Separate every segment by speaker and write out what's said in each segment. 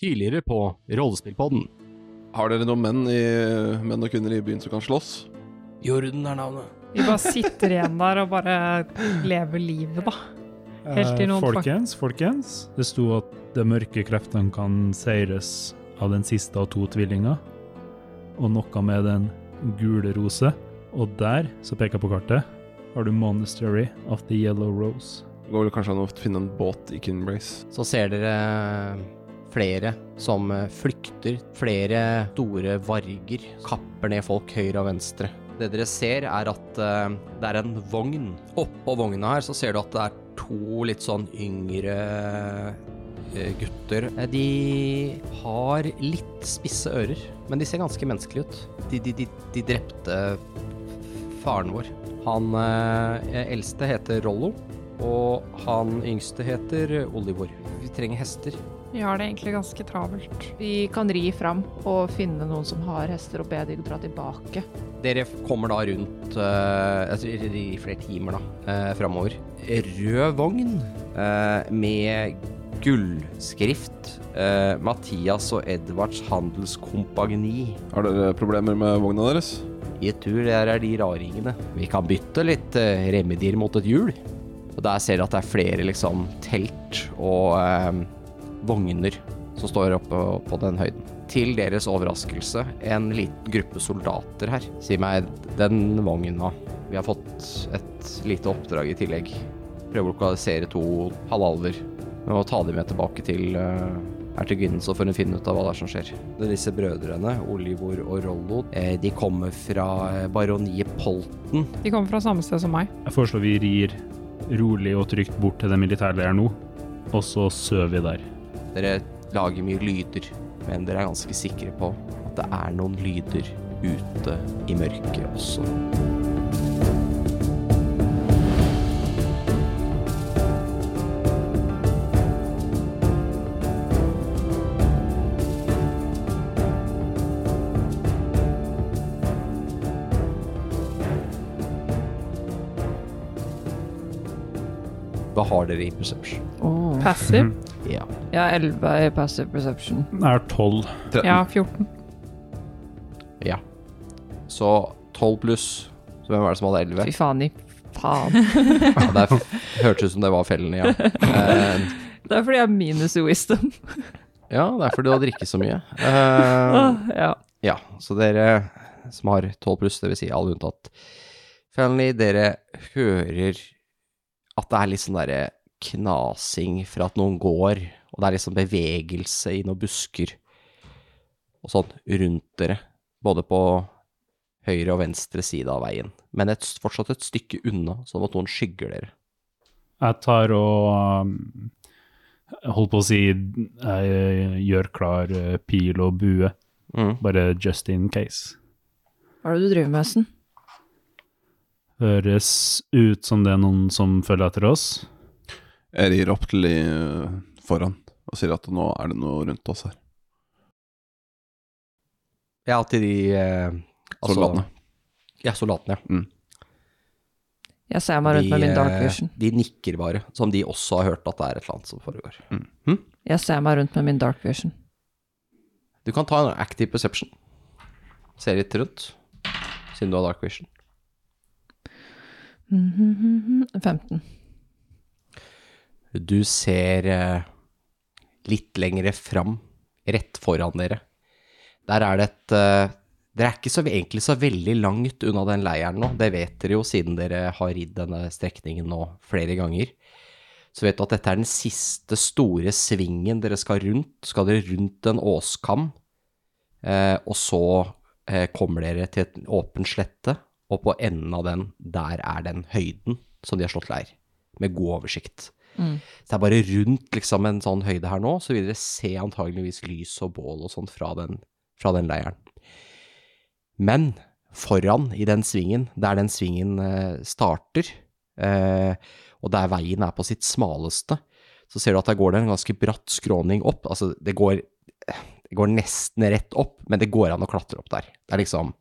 Speaker 1: tidligere på Rollespillpodden.
Speaker 2: Har dere noen menn, i, menn og kvinner i byen som kan slåss?
Speaker 3: Jorden er navnet.
Speaker 4: Vi bare sitter igjen der og bare lever livet, da. Helt til
Speaker 5: Eh,
Speaker 4: noen fak-
Speaker 5: folkens, folkens. Det sto at de mørke kreftene kan seires av den siste av to tvillinger, og noe med den gule rose. Og der, så peker jeg på kartet, har du Monastery of the Yellow Rose.
Speaker 2: Det går vel kanskje an å finne en båt i Kinbrace.
Speaker 3: Så ser dere flere som flykter. Flere store varger kapper ned folk høyre og venstre. Det dere ser, er at eh, det er en vogn. Oppå vogna her så ser du at det er to litt sånn yngre eh, gutter. Eh, De har litt spisse ører, men de ser ganske menneskelige ut. De, de, de, de drepte faren vår. Han eh, eldste heter Rollo. Og han yngste heter Olivor. Vi trenger hester.
Speaker 4: Vi har det egentlig ganske travelt.
Speaker 6: Vi kan ri fram og finne noen som har hester, og be de dra tilbake.
Speaker 3: Dere kommer da rundt eh, jeg tror i flere timer da, uh, framover. Rød vogn eh, med gullskrift. eh, Mathias og Edvards handelskompagni.
Speaker 2: Har dere problemer med vogna deres?
Speaker 3: Jeg tror det er de raringene. Vi kan bytte litt eh, remedier mot et hjul. Og der ser dere at det er flere liksom telt og eh, vogner som står oppe på den høyden. Til deres overraskelse, en liten gruppe soldater her. Si meg, den vogna Vi har fått et lite oppdrag i tillegg. Prøve å lokalisere to halvalver. Vi må ta dem med tilbake til uh, erteginnen, så får hun finne ut av hva det er som skjer. Disse brødrene, Olivor og Rollo, eh, de kommer fra eh, baroniet Polten.
Speaker 4: De kommer fra samme sted som meg.
Speaker 5: Jeg foreslår vi rir rolig og trygt bort til den militærleiren nå, og så sover vi der.
Speaker 3: Dere lager mye lyder, men dere er ganske sikre på at det er noen lyder ute i mørket også. Hva har dere i perception?
Speaker 4: Passiv.
Speaker 3: Ja.
Speaker 6: Jeg har 11 i passive perception.
Speaker 5: Jeg har tolv.
Speaker 4: Ja, 14.
Speaker 3: Ja. Så 12 pluss. Så hvem var det som hadde 11?
Speaker 6: Fy faen i faen.
Speaker 3: Ja, det er- hørtes ut som det var fellene, ja. Eh,
Speaker 6: Det er fordi jeg har minus i wisdom.
Speaker 3: ja, det er fordi du har drikket så mye. Eh,
Speaker 6: Åh, ja.
Speaker 3: ja, så dere som har 12 pluss, dvs. Si alle unntatt Fellene, dere hører at det er litt sånn derre knasing fra at noen går, og det er liksom bevegelse i noen busker og sånn rundt dere, både på høyre og venstre side av veien, men et, fortsatt et stykke unna, sånn at noen skygger dere.
Speaker 5: Jeg tar og um, Holdt på å si jeg gjør klar eh, pil og bue,
Speaker 3: Mm.
Speaker 5: bare just in case.
Speaker 6: Hva er det du driver med, Essen?
Speaker 5: Høres ut som det er noen som følger etter oss.
Speaker 2: Jeg rir opp til de eh, foran og sier at nå er det noe rundt oss her.
Speaker 3: Ja, til de eh, altså-
Speaker 2: Soldatene.
Speaker 3: Ja, soldatene, ja.
Speaker 6: Jeg ser meg rundt med min dark
Speaker 3: eh,
Speaker 6: vision.
Speaker 3: de nikker bare, som de også har hørt at det er et eller annet som foregår.
Speaker 6: Jeg ser meg rundt med min dark vision.
Speaker 3: Du kan ta en active perception. Se litt rundt, siden du har dark vision.
Speaker 6: 15.
Speaker 3: Du ser eh, litt lengre fram, rett foran dere. Der er det et eh, Dere er ikke så, egentlig så veldig langt unna den leiren nå. Det vet dere jo siden dere har ridd denne strekningen nå flere ganger. Så vet du at dette er den siste store svingen dere skal rundt. Skal dere rundt en åskam, eh, og så eh, kommer dere til et åpen slette, og på enden av den, der er den høyden som de har slått leir. Med god oversikt. Så det er bare rundt liksom, en sånn høyde her nå, så vil dere se antageligvis lys og bål og sånn fra, den- fra den leiren. Men foran i den svingen, der den svingen eh, starter, eh, og der veien er på sitt smaleste, så ser du at der går det en ganske bratt skråning opp. Altså, det går, det går nesten rett opp, men det går an å klatre opp der. Det er liksom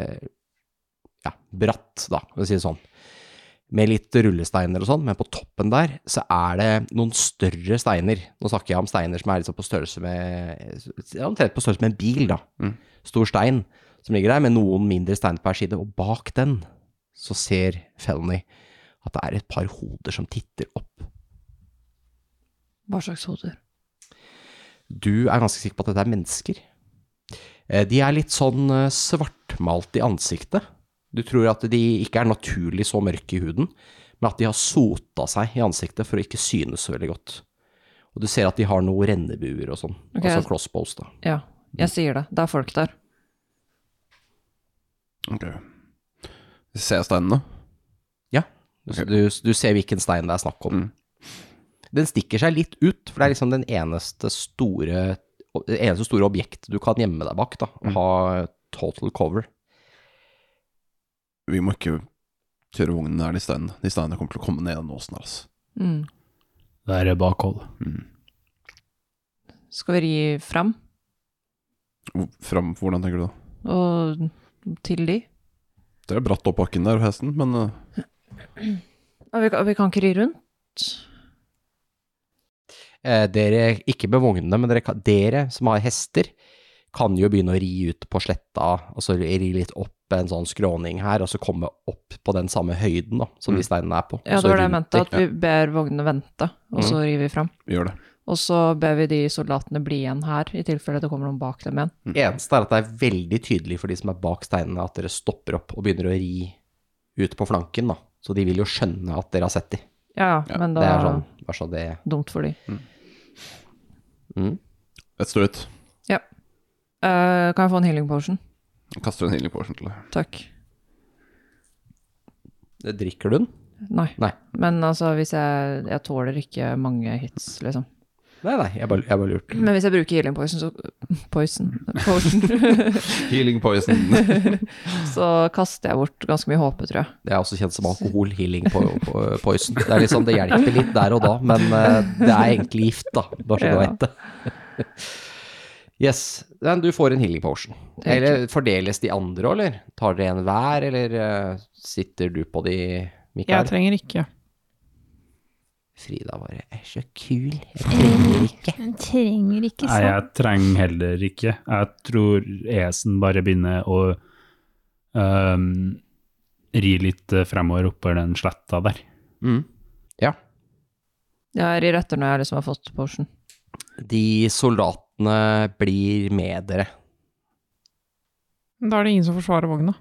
Speaker 3: eh, ja, bratt, da, for å si det sånn. med litt rullesteiner og sånn, men på toppen der så er det noen større steiner. Nå snakker jeg om steiner som er liksom på størrelse med ja, Omtrent på størrelse med en bil, da.
Speaker 2: Mm.
Speaker 3: Stor stein som ligger der, med noen mindre steiner på hver side. Og bak den så ser Felny at det er et par hoder som titter opp.
Speaker 6: Hva slags hoder?
Speaker 3: Du er ganske sikker på at dette er mennesker. Eh, De er litt sånn eh, svartmalt i ansiktet. Du tror at de ikke er naturlig så mørke i huden, men at de har sota seg i ansiktet for å ikke synes så veldig godt. Og du ser at de har noen rennebuer og sånn,
Speaker 6: Ok.
Speaker 3: altså crossbows da.
Speaker 6: Ja, jeg sier det. Det er folk der.
Speaker 2: Ok. Ser jeg steinene?
Speaker 3: Du,
Speaker 2: Ok. Mm.
Speaker 3: du, du ser hvilken stein det er snakk om. Den stikker seg litt ut, for det er liksom den eneste store, det eneste store objektet du kan gjemme deg bak da, og
Speaker 2: Mm.
Speaker 3: ha total cover.
Speaker 2: Vi må ikke kjøre vognen nær de steinene. De steinene kommer til å komme ned den åsen her, altså.
Speaker 6: Mm.
Speaker 5: Der er bakhold.
Speaker 2: Mm.
Speaker 6: Skal vi ri fram
Speaker 2: Hvor- Fram, hvordan tenker du da?
Speaker 6: og til de?
Speaker 2: Det er bratt opp bakken der, hesten, men eh,
Speaker 6: Ja, Vi kan, vi kan ikke ri rundt.
Speaker 3: Eh, dere, ikke med vognene, men dere, kan- dere som har hester, kan jo begynne å ri ut på sletta, altså ri litt opp en sånn skråning her, og så komme opp på den samme høyden da, som de steinene er på. og
Speaker 6: Mm. Ja, Mm.
Speaker 3: så
Speaker 6: det var det jeg
Speaker 3: rundt
Speaker 6: mente,
Speaker 3: de.
Speaker 6: at Altså, vi ber vognene vente, og så rir vi fram.
Speaker 2: vi gjør det.
Speaker 6: Og så ber vi de soldatene bli igjen her, i tilfelle det kommer noen bak dem igjen.
Speaker 3: Eneste er at det er veldig tydelig for de som er bak steinene, at dere stopper opp og begynner å ri ut på flanken, da. Så de vil jo skjønne at dere har sett de.
Speaker 6: Ja, ja,
Speaker 2: Ja,
Speaker 6: men da
Speaker 3: Det er sånn, bare så det
Speaker 6: Dumt for de.
Speaker 3: mm.
Speaker 2: Let's do it.
Speaker 6: Eh, kan jeg få en healing potion?
Speaker 2: Jeg kaster en healing potion til deg.
Speaker 6: Takk.
Speaker 3: Det Drikker du den?
Speaker 6: Nei.
Speaker 3: Nei.
Speaker 6: Men altså, hvis jeg Jeg tåler ikke mange hits, liksom.
Speaker 3: Mm. Nei, nei, jeg bare, jeg bare lurte.
Speaker 6: Men hvis jeg bruker healing poison, så Poison. potion,
Speaker 2: Healing poison.
Speaker 6: så kaster jeg bort ganske mye håpe, tror jeg.
Speaker 3: Det er også kjent som alkohol, healing på, på poison. Det er liksom, det hjelper litt der og da, men eh, det er egentlig gift, da. Bare så du
Speaker 6: Ja.
Speaker 3: vet det. Yes. Men du får en healing potion. Eller fordeles de andre, også, eller? Tar dere en hver, eller eh, sitter du på de,
Speaker 4: Jeg
Speaker 3: Mikael?
Speaker 4: trenger ikke.
Speaker 3: Frida bare er så kul. Jeg trenger ikke.
Speaker 7: Den trenger ikke
Speaker 5: Nei,
Speaker 7: sånn.
Speaker 5: jeg trenger heller ikke. Jeg tror esen bare begynner å øhm, ri litt eh, fremover oppover den sletta der.
Speaker 3: Mm. Ja.
Speaker 6: Jeg rir etter når jeg liksom har fått potion.
Speaker 3: De soldatene blir med dere.
Speaker 4: Da er det ingen som forsvarer vogna.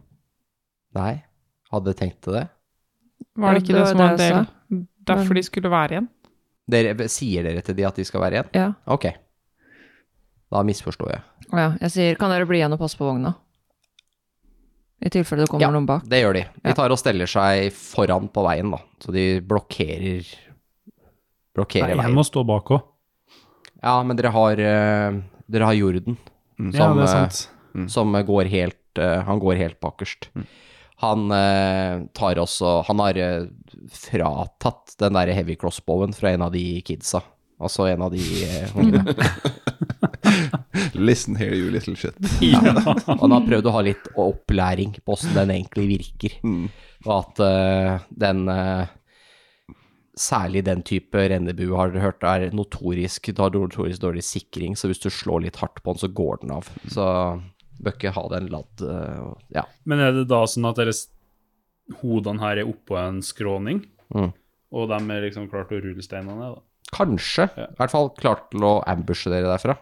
Speaker 3: Nei, hadde tenkt til det.
Speaker 4: Var det
Speaker 6: Ja,
Speaker 4: ikke
Speaker 6: det
Speaker 4: det,
Speaker 6: var
Speaker 4: som var en
Speaker 6: det jeg
Speaker 4: del? Derfor
Speaker 6: Men-
Speaker 4: de skulle være igjen?
Speaker 3: Dere, sier dere til de at de skal være igjen?
Speaker 6: Ja.
Speaker 3: Ok. Da misforstår jeg.
Speaker 6: Å ja. Jeg sier, kan dere bli igjen og passe på vogna? I tilfelle det kommer
Speaker 3: Ja.
Speaker 6: noen bak.
Speaker 3: Det gjør de. De
Speaker 6: Ja.
Speaker 3: tar og steller seg foran på veien, da. Så de blokkerer
Speaker 5: Nei,
Speaker 3: Blokkerer
Speaker 5: jeg
Speaker 3: veien.
Speaker 5: må stå bak òg.
Speaker 3: Ja, men dere har eh, Dere har Jorden,
Speaker 2: Mm.
Speaker 5: Ja,
Speaker 3: Som,
Speaker 5: det er
Speaker 3: eh,
Speaker 5: sant.
Speaker 3: som går helt eh, Han går helt bakerst. Han eh, tar også Han har eh, fratatt den derre heavy crossbowen fra en av de kidsa. Altså en av de eh, ungene.
Speaker 2: Listen here, you little shit.
Speaker 3: Og han har prøvd å ha litt opplæring på åssen den egentlig virker. Og at eh, den eh, Særlig den type rennebue har dere hørt er notorisk Det har notorisk dårlig sikring, så hvis du slår litt hardt på den, så går den av. Så bør ikke ha den ladd eh, og- Ja.
Speaker 5: Men er det da sånn at deres hodene her er oppå en skråning,
Speaker 3: Mm.
Speaker 5: og de er liksom klart å rulle steinene ned? da?
Speaker 3: Kanskje.
Speaker 5: Ja. Mm.
Speaker 3: I hvert fall klart til å ambushe dere derfra.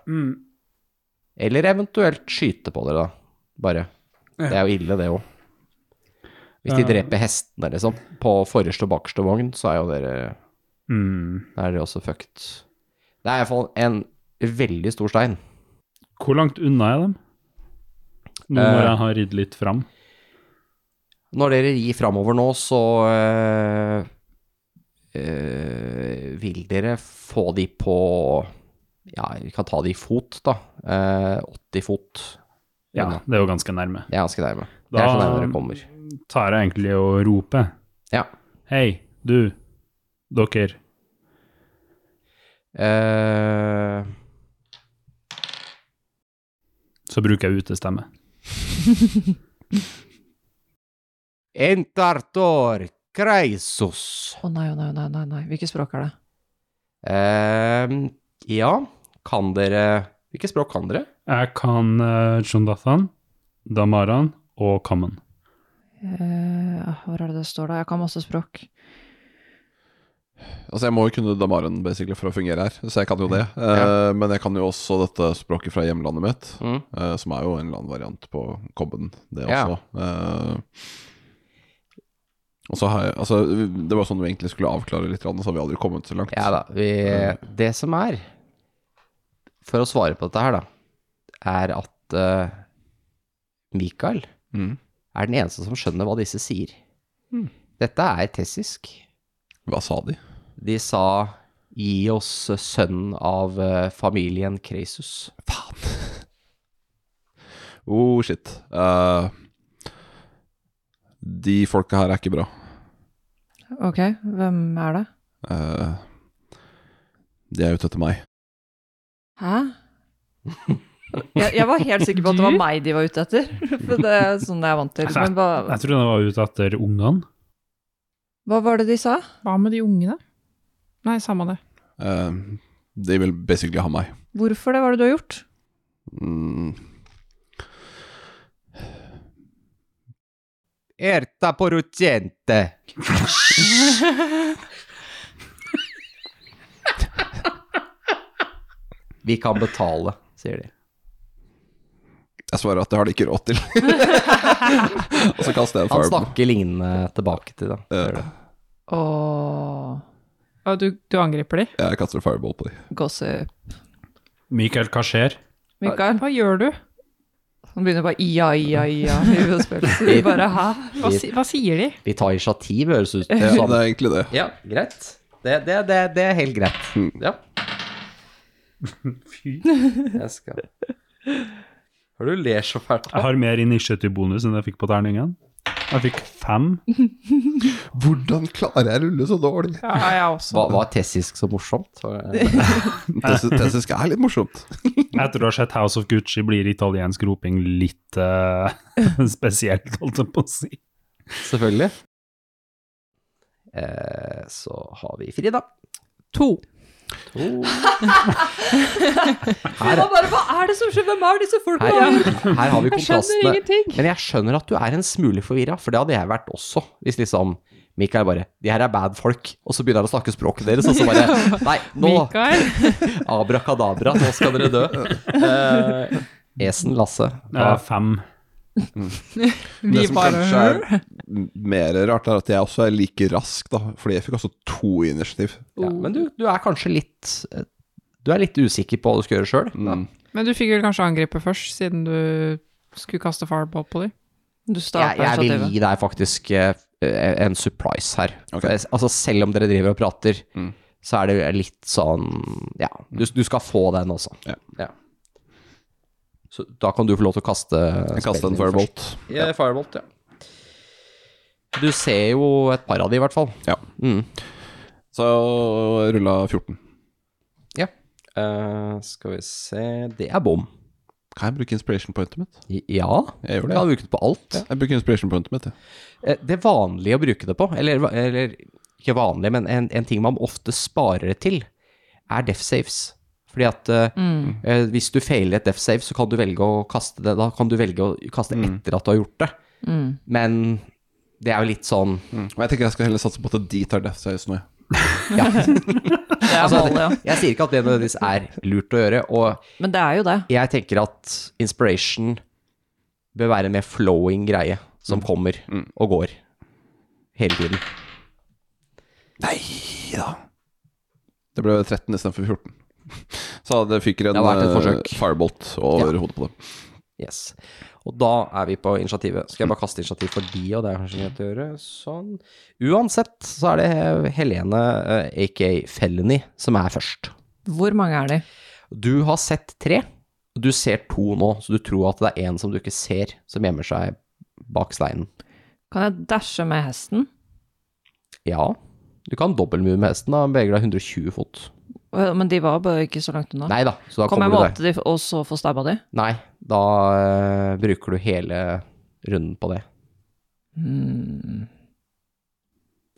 Speaker 3: Eller eventuelt skyte på dere, da. Bare. Det er jo ille, det òg. Hvis de
Speaker 5: Ja.
Speaker 3: dreper hestene, liksom, på forreste og bakerste vogn, så er jo dere Da er dere også fucked. Det er i hvert fall en veldig stor stein.
Speaker 5: Hvor langt unna er de? Nå
Speaker 3: Eh.
Speaker 5: når jeg har ridd litt fram.
Speaker 3: Når dere rir framover nå, så eh, eh, vil dere få de på Ja, vi kan ta de i fot, da. Eh, 80 fot.
Speaker 5: Ja,
Speaker 3: Unna.
Speaker 5: det er jo ganske nærme.
Speaker 3: Det er ganske nærme. Det er så nærme dere kommer.
Speaker 5: tar jeg egentlig og roper.
Speaker 3: Ja.
Speaker 5: Hei, du, dere.
Speaker 3: Eh,
Speaker 5: Så bruker jeg utestemme.
Speaker 3: Entartor Kreisos.
Speaker 6: Å nei, å nei, å nei, nei, nei. Hvilket språk er det?
Speaker 3: Ehm, ja, kan dere Hvilke språk kan dere?
Speaker 5: Jeg kan uh, Jondathan, Damaran og Kammen.
Speaker 6: Eh, hvor er det det står da? Jeg kan masse språk.
Speaker 2: Altså, jeg må jo kunne damaren basically for å fungere her, så jeg kan jo det. Eh, Men jeg kan jo også dette språket fra hjemlandet mitt,
Speaker 3: Mm.
Speaker 2: eh, som er jo en eller annen variant på kobben, det
Speaker 3: Ja.
Speaker 2: også. Eh, og så har jeg, altså, det var sånn vi egentlig skulle avklare litt, grann, så har vi aldri kommet så langt.
Speaker 3: Ja da. Vi, det som er For å svare på dette her, da, er at eh, Mikael
Speaker 2: Mm.
Speaker 3: er den eneste som skjønner hva disse sier. Mm. Dette er tessisk.
Speaker 2: Hva sa de?
Speaker 3: De sa 'gi oss sønnen av eh, familien Kreisus'.
Speaker 2: Oh, shit. Eh, de folka her er ikke bra.
Speaker 6: Ok, hvem er det?
Speaker 2: Eh, de er ute etter meg.
Speaker 6: Hæ? Jeg, jeg var helt sikker på at det var meg de var ute etter. For det er sånn jeg er vant til. Men hva,
Speaker 5: Jeg tror de var ute etter ungene.
Speaker 6: hva var det de sa?
Speaker 4: Hva med de ungene? Nei, samme det.
Speaker 2: Eh, de vil basically ha meg.
Speaker 6: Hvorfor det? Hva er det du har gjort?
Speaker 2: Mm.
Speaker 3: Erta porutiente. Vi kan betale, sier de.
Speaker 2: Jeg svarer at det har de ikke råd til. og så kaster jeg
Speaker 3: Han
Speaker 2: en fireball.
Speaker 3: snakker lignende tilbake til dem.
Speaker 2: Eh,
Speaker 6: Åh,
Speaker 4: Og du, du angriper de?
Speaker 2: Eh, jeg kaster en fireball på dem.
Speaker 6: gossip.
Speaker 5: Mikael, hva skjer?
Speaker 6: Mikael,
Speaker 4: Hva gjør du?
Speaker 6: han begynner bare ia, ia, ia. i hovedspillet. Så du bare hæ?
Speaker 4: Hva, si, hva sier de?
Speaker 3: Vi tar initiativ, høres ut
Speaker 2: Ja,
Speaker 3: som.
Speaker 2: det er egentlig det.
Speaker 3: Ja, greit. Det, det, det, det er helt greit. Ja.
Speaker 5: Fy.
Speaker 3: Jeg skal Har du ler så fælt?
Speaker 5: Jeg har mer initiativbonus enn jeg fikk på terningen. Jeg fikk fem.
Speaker 2: Hvordan klarer jeg å rulle så dårlig?
Speaker 4: Ja, jeg også.
Speaker 3: Hva var tessisk så morsomt?
Speaker 2: Tessisk er litt morsomt.
Speaker 5: Etter å ha sett House of Gucci blir italiensk roping litt eh, spesielt, holdt jeg på å si.
Speaker 3: Selvfølgelig. Eh, så har vi Frida.
Speaker 4: To.
Speaker 3: To.
Speaker 6: Hun var bare, hva er det som skjer? Hvem er disse folka?
Speaker 3: Her, her har vi
Speaker 4: Jeg skjønner
Speaker 3: kontrastene.
Speaker 4: ingenting.
Speaker 3: Men jeg skjønner at du er en smule forvirra, for det hadde jeg vært også. Hvis liksom Mikael bare 'De her er bad folk', og så begynner han å snakke språket deres, og så bare 'Nei, nå
Speaker 4: Mikael.
Speaker 3: Abrakadabra, nå skal dere dø'. Eh, Esen Lasse.
Speaker 5: Eh, fem.
Speaker 2: Det
Speaker 4: Vi
Speaker 2: som
Speaker 4: bare
Speaker 2: kanskje er mer rart, er at jeg også er like rask, da. Fordi jeg fikk også to initiativ.
Speaker 4: Oh.
Speaker 3: Ja, men du, du er kanskje litt eh, Du er litt usikker på hva du skal gjøre sjøl.
Speaker 4: Men du fikk vel kanskje angripe først, siden du skulle kaste fireball på dem?
Speaker 6: Du starter
Speaker 3: Jeg, jeg vil
Speaker 6: initiativet.
Speaker 3: gi deg faktisk eh, en surprise her.
Speaker 2: Ok.
Speaker 3: For jeg- Altså Selv om dere driver og prater,
Speaker 2: Mm.
Speaker 3: så er det litt sånn Ja, du, du skal få den også.
Speaker 2: Ja.
Speaker 3: Så da kan du få lov til å kaste
Speaker 2: Jeg kastet en
Speaker 3: spillet ditt først.
Speaker 2: firebolt.
Speaker 3: Ja, firebolt, ja. Du ser jo et par av de, i hvert fall.
Speaker 2: Ja.
Speaker 3: Mm.
Speaker 2: Så jeg rulla 14.
Speaker 3: ja. Eh, skal vi se Det er bom.
Speaker 2: Kan jeg bruke inspiration pointet mitt?
Speaker 3: I- Ja,
Speaker 2: Jeg gjør
Speaker 3: du
Speaker 2: det.
Speaker 3: kan bruke det på alt.
Speaker 2: Jeg bruker inspiration pointet mitt, jeg.
Speaker 3: Eh, Det vanlige å bruke det på, eller, eller ikke vanlig, men en, en ting man ofte sparer det til, er death saves. Fordi at eh,
Speaker 6: Mm.
Speaker 3: eh, hvis du feiler et death save, så kan du velge å kaste det. Da kan du velge å kaste etter at du har gjort det.
Speaker 6: Mm.
Speaker 3: Men det er jo litt sånn
Speaker 2: Og jeg tenker jeg skal heller satse på at de tar death saves nå, jeg.
Speaker 3: Ja.
Speaker 6: Det er
Speaker 3: Altså,
Speaker 6: målet, ja.
Speaker 3: jeg sier ikke at det nødvendigvis er lurt å gjøre, og
Speaker 6: Men det er jo det.
Speaker 3: jeg tenker at inspiration bør være en mer flowing greie som kommer og går hele tiden.
Speaker 2: Det ble 13 istedenfor 14. Så det fyker en
Speaker 3: Det har vært et
Speaker 2: eh,
Speaker 3: forsøk.
Speaker 2: firebolt over hodet på dem.
Speaker 3: Yes. Og da er vi på initiativet. Skal jeg bare kaste initiativ for de, og det er kanskje greit å gjøre? Sånn. Uansett så er det Helene, eh, aka Felony, som er først.
Speaker 6: Hvor mange er de?
Speaker 3: Du har sett tre. Du ser to nå, så du tror at det er én som du ikke ser, som gjemmer seg bak steinen.
Speaker 6: Kan jeg dashe med hesten?
Speaker 3: Ja, du kan dobbeltmue med hesten. Da beveger deg 120 fot.
Speaker 6: Øh, Men de var bare ikke så langt unna.
Speaker 3: Nei da, så da
Speaker 6: Kom
Speaker 3: kommer
Speaker 6: jeg
Speaker 3: du deg.
Speaker 6: måte de, og så få stabba de?
Speaker 3: Nei, da eh,
Speaker 6: Hmm.
Speaker 3: bruker du hele runden på det.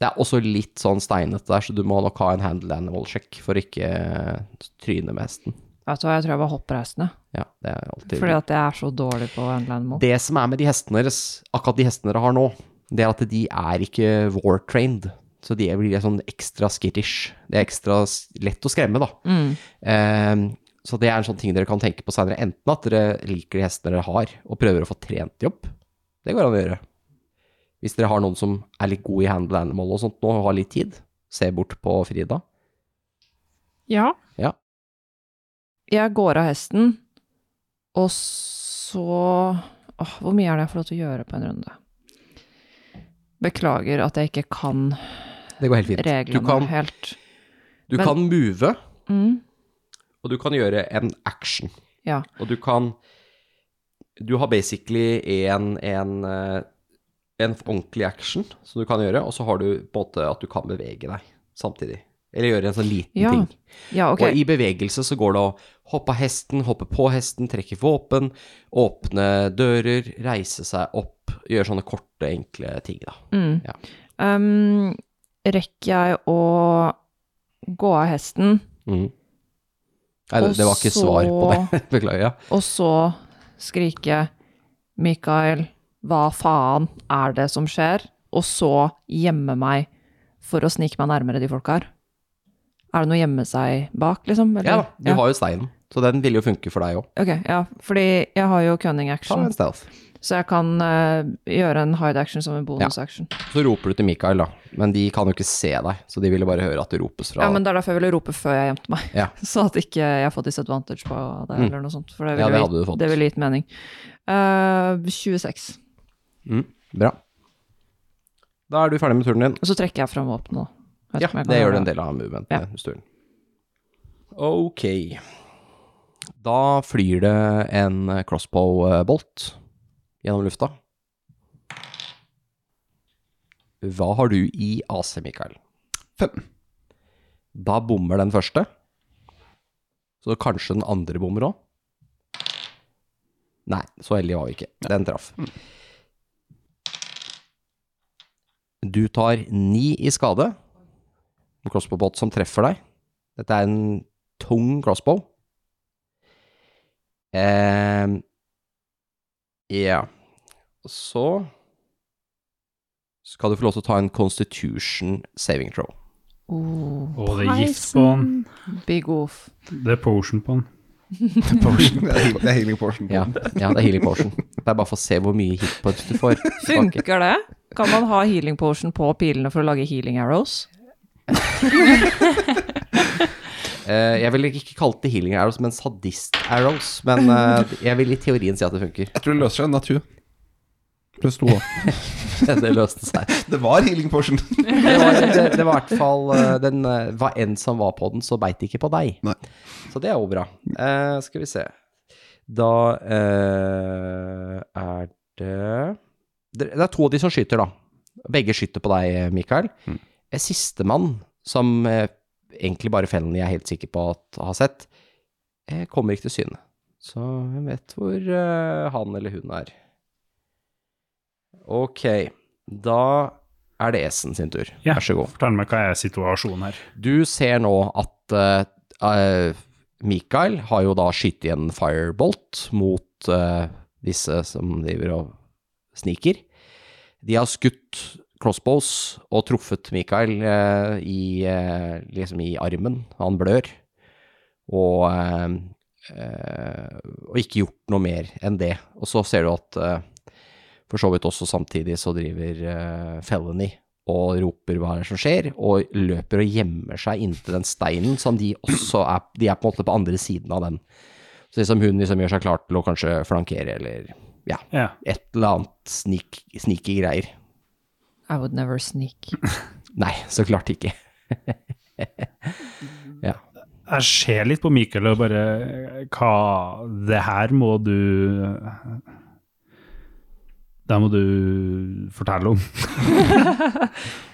Speaker 3: Det er også litt sånn steinete der, så du må nok ha en handle animal check for ikke eh, tryne med hesten.
Speaker 6: Vet du hva, jeg tror jeg bare hopper hesten, jeg.
Speaker 3: Ja, det er alltid
Speaker 6: Fordi at jeg er så dårlig på å handle animal.
Speaker 3: Det som er med de hestene deres, akkurat de hestene dere har nå, det er at de er ikke war-trained. Så de blir sånn ekstra skittish. Det er ekstra s- lett å skremme, da.
Speaker 6: Mm.
Speaker 3: Eh, så det er en sånn ting dere kan tenke på senere. Enten at dere liker de hestene dere har, og prøver å få trent de opp. Det går an å gjøre. Hvis dere har noen som er litt god i handle animal og sånt nå, og har litt tid, se bort på Frida.
Speaker 4: Ja.
Speaker 6: Jeg går av hesten, og så Åh, Hvor mye er det jeg får lov til å gjøre på en runde? Beklager at jeg ikke kan
Speaker 3: Det går helt fint.
Speaker 6: reglene
Speaker 3: du kan,
Speaker 6: helt.
Speaker 3: du
Speaker 6: men-
Speaker 3: kan move,
Speaker 6: Mm.
Speaker 3: og du kan gjøre en action.
Speaker 6: Ja.
Speaker 3: Og du kan Du har basically en, en, eh, en ordentlig action som du kan gjøre, og så har du på en måte at du kan bevege deg samtidig. Eller gjøre en sånn liten
Speaker 6: Ja,
Speaker 3: ting.
Speaker 6: ja, ok.
Speaker 3: Og i bevegelse så går det å hoppe av hesten, hoppe på hesten, trekke våpen, åpne dører, reise seg opp, gjøre sånne korte, enkle ting, da.
Speaker 6: Mm.
Speaker 3: Ja.
Speaker 6: Um, rekker jeg å gå av hesten,
Speaker 3: Mm. Nei, det,
Speaker 6: Og
Speaker 3: det var ikke svar på det. Beklager. Ja.
Speaker 6: og så skrike 'Mikael, hva faen er det som skjer?' Og så gjemme meg for å snike meg nærmere de folka her. Er det noe å gjemme seg bak, liksom? eller?
Speaker 3: ja da, du har jo steinen, så den vil jo funke for deg òg.
Speaker 6: Ok, ja, fordi jeg har jo cunning
Speaker 3: Ta
Speaker 6: action,
Speaker 3: en stealth.
Speaker 6: så jeg kan eh, gjøre en hide action som en bonus action.
Speaker 3: Så roper du til Mikael, da. Men de kan jo ikke se deg, så de ville bare høre at det ropes fra
Speaker 6: Ja, men det er derfor jeg ville rope før jeg gjemte meg.
Speaker 3: Ja.
Speaker 6: Så at ikke jeg får disadvantage på det,
Speaker 3: Mm.
Speaker 6: eller noe sånt. For det
Speaker 3: Ja,
Speaker 6: ville,
Speaker 3: det
Speaker 6: jo
Speaker 3: hadde du
Speaker 6: gitt,
Speaker 3: fått.
Speaker 6: det ville gitt mening. Eh, 26.
Speaker 3: Mm, bra. Da er du ferdig med turen din.
Speaker 6: Og så trekker jeg fram våpenet nå. Vet
Speaker 3: Ja,
Speaker 6: ikke om jeg kan
Speaker 3: det gjør
Speaker 6: gjøre
Speaker 3: du en del av movementet.
Speaker 6: Ja.
Speaker 3: hvis du vil. Ok. Da flyr det en crossbow-bolt gjennom lufta. Hva har du i AC, Mikael?
Speaker 2: Fem.
Speaker 3: Da bommer den første. Så kanskje den andre bommer òg. Nei, så heldige var vi ikke. Den traff. Du tar ni i skade. En crossbow-båt som treffer deg. Dette er en tung crossbow. Eh, ja. Så skal du få lov til å ta en constitution saving throw.
Speaker 6: Oh,
Speaker 5: Og det er gift på han.
Speaker 6: big oof.
Speaker 5: Det er potion på han.
Speaker 2: Potion. Det er heal- det er healing portion.
Speaker 3: Ja, ja, det er healing potion. Det er bare for å se hvor mye hit points du får. tilbake.
Speaker 6: Funker det? Kan man ha healing potion på pilene for å lage healing arrows?
Speaker 3: Eh, jeg ville ikke kalt det healing arrows, men sadist arrows. Men eh, jeg vil i teorien si at det funker.
Speaker 2: Jeg tror det løser seg. Natur. Pluss to. da.
Speaker 3: Det løste seg.
Speaker 2: Det var healing portion.
Speaker 3: Det var, det, det var i hvert fall eh, den, eh, Hva enn som var på den, så beit det ikke på deg.
Speaker 2: Nei.
Speaker 3: Så det er jo bra. Eh, skal vi se. Da eh, er det Det det er to av de som skyter, da. Begge skyter på deg, Mikael.
Speaker 2: Mm.
Speaker 3: Eh, Sistemann, som eh, egentlig bare Fenny er helt sikker på at har sett, eh, kommer ikke til syne. Så hvem vet hvor eh, han eller hun er. Ok, da er det Esen sin tur.
Speaker 5: Ja.
Speaker 3: Vær så god.
Speaker 5: Fortell meg hva er situasjonen her.
Speaker 3: Du ser nå at eh, eh, Mikael har jo da skytt i en firebolt mot eh, disse som driver og sniker. De har skutt crossbows og truffet Mikael eh, i, eh, liksom i armen. Han blør. Og, eh, eh, og ikke gjort noe mer enn det. Og så ser du at eh, for så vidt også samtidig så driver eh, Felony og roper hva er det som skjer, og løper og gjemmer seg inntil den steinen som de også er De er på en måte på andre siden av den. Så liksom hun liksom gjør seg klar til å kanskje flankere eller
Speaker 5: Ja.
Speaker 3: et eller annet snik, sneaky greier.
Speaker 6: I would never sneak.
Speaker 3: Nei, så klart ikke.
Speaker 5: Jeg ser litt på Mikael og bare Hva Det her må du Det her må du fortelle om.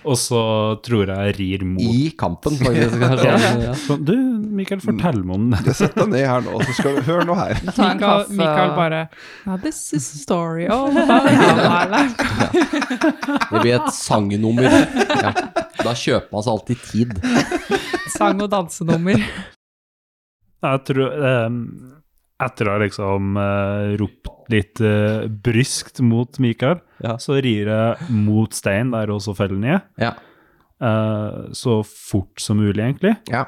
Speaker 5: og så tror jeg jeg rir mot
Speaker 3: I kampen, faktisk. kanskje.
Speaker 5: Sånn, Du, Mikael, fortell meg om det.
Speaker 2: Sett deg ned her nå, så skal du høre nå her.
Speaker 6: Ta en
Speaker 4: Mikael,
Speaker 6: kaffe.
Speaker 4: Mikael bare Now this is a story all about how I left
Speaker 3: Det blir et sangnummer. Ja. Da kjøper man seg alltid tid.
Speaker 4: sang- og dansenummer.
Speaker 5: Jeg tror eh, Etter å ha liksom eh, ropt litt eh, bryskt mot Mikael,
Speaker 3: Ja.
Speaker 5: så rir jeg mot steinen der også fellen ned,
Speaker 3: Ja.
Speaker 5: eh, så fort som mulig, egentlig.
Speaker 3: Ja.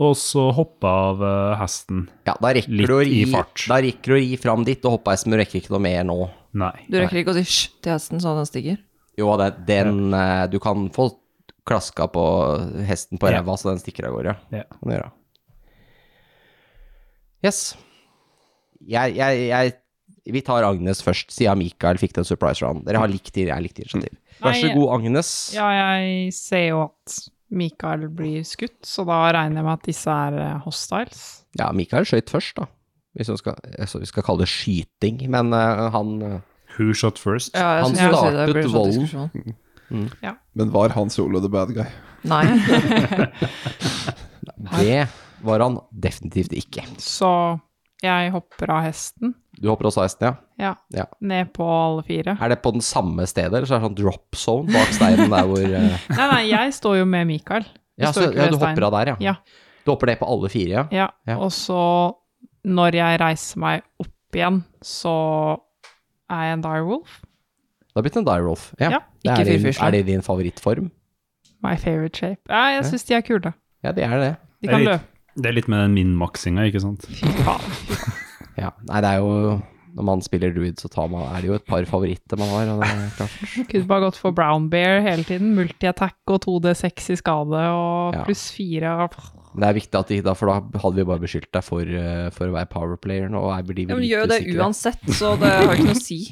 Speaker 5: Og så hoppe av eh, hesten.
Speaker 3: Ja, da rekker
Speaker 5: Litt
Speaker 3: du å ri,
Speaker 5: i fart.
Speaker 3: Da rekker du å ri fram dit, og hoppe heisen, men du rekker ikke noe mer nå.
Speaker 5: Nei.
Speaker 6: Du rekker ikke å si hysj til hesten så den stiger?
Speaker 3: Jo, det, den eh, Du kan få klaska på hesten på
Speaker 5: Ja.
Speaker 3: ræva, så den stikker av gårde.
Speaker 5: Ja.
Speaker 3: Kan du gjøre. Yes. Jeg, jeg, jeg Vi tar Agnes først, siden Mikael fikk den surprise round. Dere har likt jeg likte
Speaker 5: Mm.
Speaker 3: initiativ. Vær så
Speaker 4: Nei,
Speaker 3: god, Agnes.
Speaker 4: Ja, jeg ser jo at Mikael blir skutt, så da regner jeg med at disse er eh, hostiles.
Speaker 3: Ja, Mikael skøyt først, da. Hvis vi skal, altså, vi skal kalle det skyting, men eh, han
Speaker 5: Who shot first?
Speaker 6: Ja,
Speaker 3: Han
Speaker 6: skulle si det,
Speaker 3: startet
Speaker 6: det blir en sånn
Speaker 3: volden.
Speaker 6: diskusjon.
Speaker 2: Men var han solo the bad guy?
Speaker 6: Nei.
Speaker 3: Det var han definitivt ikke.
Speaker 4: Så jeg hopper av hesten,
Speaker 3: Du hopper også av hesten, ja?
Speaker 4: ja,
Speaker 3: Ja.
Speaker 4: ned på alle fire.
Speaker 3: Er det på den samme stedet, eller så er det sånn drop zone bak steinen der hvor eh,
Speaker 4: Nei, nei, jeg står jo med Mikael.
Speaker 3: ja, så, ja, du hopper av der, ja.
Speaker 4: Ja.
Speaker 3: Du hopper ned på alle fire, ja.
Speaker 4: Ja,
Speaker 3: Ja.
Speaker 4: og så når jeg reiser meg opp igjen, så er jeg en direwolf.
Speaker 3: Det har blitt en die rolf. Ja.
Speaker 4: Ja,
Speaker 3: Det
Speaker 6: ikke
Speaker 3: er, din,
Speaker 6: fyrfyrsel.
Speaker 3: er det din favorittform?
Speaker 4: My favorite shape. Nei, jeg syns de er kule.
Speaker 3: Ja, det er det.
Speaker 4: De kan
Speaker 5: Jeg vet.
Speaker 4: løpe.
Speaker 5: Det er litt med den min-maksinga, ikke sant?
Speaker 4: faen.
Speaker 3: Ja. Nei, det er jo Når man spiller druid, så tar man, er det jo et par favoritter man har. Og det er klart.
Speaker 4: Kunne bare gått for brown bear hele tiden. Multi-attack og 2D6 i skade og
Speaker 3: Ja.
Speaker 4: pluss 4.
Speaker 3: Men Det er viktig at de ikke da, for da hadde vi bare beskyldt deg for, eh, for å være powerplayer nå. Og jeg blir
Speaker 6: Ja,
Speaker 3: litt
Speaker 6: men gjør det
Speaker 3: usikker.
Speaker 6: uansett, så det har ikke noe å si.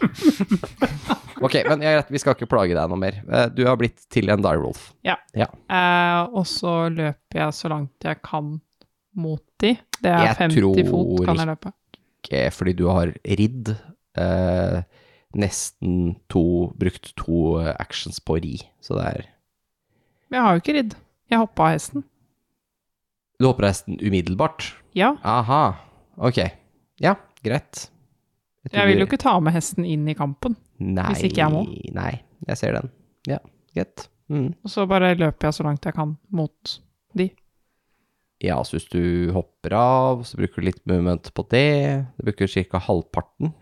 Speaker 3: Ok, men jeg, vi skal ikke plage deg noe mer. Eh, Du har blitt til en die rolf.
Speaker 4: Eh, og så løper jeg så langt jeg kan mot de. Det er
Speaker 3: Jeg
Speaker 4: 50 fot
Speaker 3: tror
Speaker 4: kan jeg løpe.
Speaker 3: ikke fordi du har ridd eh, nesten to Brukt to eh, actions på å ri. Så det er
Speaker 4: Men jeg har jo ikke ridd. Jeg hoppa av hesten.
Speaker 3: Du hopper hesten umiddelbart?
Speaker 4: Ja.
Speaker 3: Aha. Ok. Ja, greit. tror
Speaker 4: Jeg vil jo
Speaker 3: vi-
Speaker 4: ikke ta med hesten inn i kampen.
Speaker 3: nei,
Speaker 4: hvis ikke jeg må.
Speaker 3: Nei, jeg ser den. Ja, greit. Mm.
Speaker 4: Og så bare løper jeg så langt jeg kan mot de.
Speaker 3: Ja, så hvis du hopper av, så bruker du litt movement på det. Du bruker ca. halvparten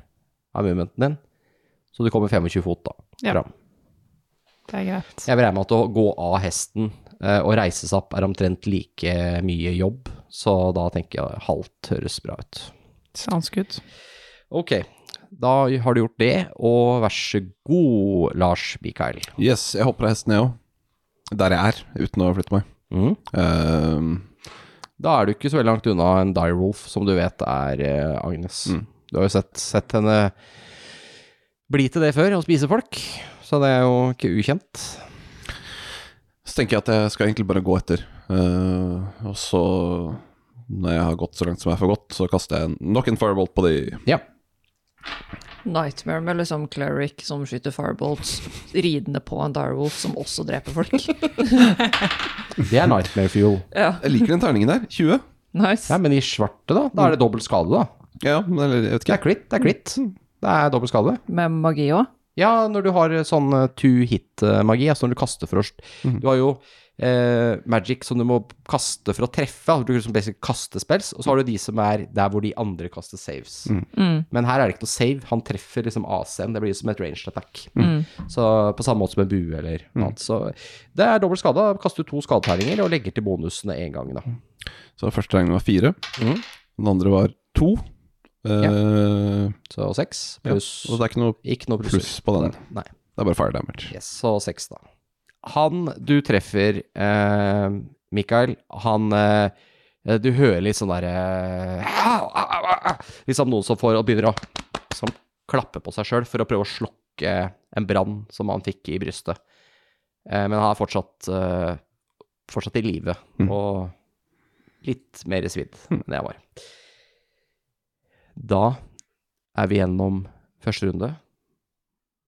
Speaker 3: av movementen din. Så du kommer 25 fot, da.
Speaker 4: Ja.
Speaker 3: Fram.
Speaker 4: Det er greit.
Speaker 3: Jeg vil regne med at å gå av hesten eh, og reise seg opp er omtrent like eh, mye jobb, så da tenker jeg halvt høres bra ut.
Speaker 4: Sounds good.
Speaker 3: Ok, da har du gjort det, og vær så god, Lars Mikael.
Speaker 2: Yes, jeg hopper av hesten, jeg òg. Der jeg er, uten å flytte meg.
Speaker 3: Mm.
Speaker 2: Ehm,
Speaker 3: Da er du ikke så veldig langt unna en direwolf, som du vet er eh, Agnes.
Speaker 2: Mm.
Speaker 3: Du har jo sett, sett henne bli til det før, og spise folk, så det er jo ikke ukjent.
Speaker 2: så tenker jeg at jeg skal egentlig bare gå etter. Eh, og så, når jeg har gått så langt som jeg får gått, så kaster jeg en, nok en firebolt på de.
Speaker 3: Ja,
Speaker 6: Nightmare med liksom cleric som skyter firebolts, ridende på en direwolf som også dreper folk.
Speaker 3: det er nightmare fuel.
Speaker 2: Jeg liker den terningen der. 20.
Speaker 6: Nice.
Speaker 3: Nei, men i svarte da, da er det dobbelt skade da.
Speaker 2: Ja, men eller, jeg vet
Speaker 3: Det
Speaker 2: ikke.
Speaker 3: er klitt, det er klitt. Det er dobbelt skade.
Speaker 6: Med magi òg.
Speaker 3: Ja, når du har sånn eh, two hit-magi, altså når du kaster for å
Speaker 2: Mhm.
Speaker 3: Du har jo eh, magic som du må kaste for å treffe, altså du kan liksom basic kaste spells, og så har du de som er der hvor de andre kaster saves.
Speaker 2: Mm.
Speaker 3: Men her er det ikke noe save, han treffer liksom AC-en, det blir som et ranged attack.
Speaker 2: Mm.
Speaker 3: Så på samme måte som en bue eller noe annet. Så det er dobbelt skada, kaster to skadeterninger og legger til bonusene én gang, da.
Speaker 2: Mm. Så første terningen var fire.
Speaker 3: Mhm.
Speaker 2: Den andre var to. Eh,
Speaker 3: Så seks
Speaker 2: ja.
Speaker 3: pluss
Speaker 2: Og det er ikke noe
Speaker 3: Ikke noe plusser.
Speaker 2: pluss på den.
Speaker 3: Nei.
Speaker 2: Det er bare fire damage.
Speaker 3: Yes, så seks, da. Han du treffer, eh, Mikael, han eh, Du hører litt sånn derre Liksom noen som får og begynner å som klapper på seg sjøl for å prøve å slokke en brann som han fikk i brystet. Eh, men han er fortsatt, eh, fortsatt i live
Speaker 2: Mm.
Speaker 3: og litt mer svidd enn jeg var. Da er vi gjennom første runde,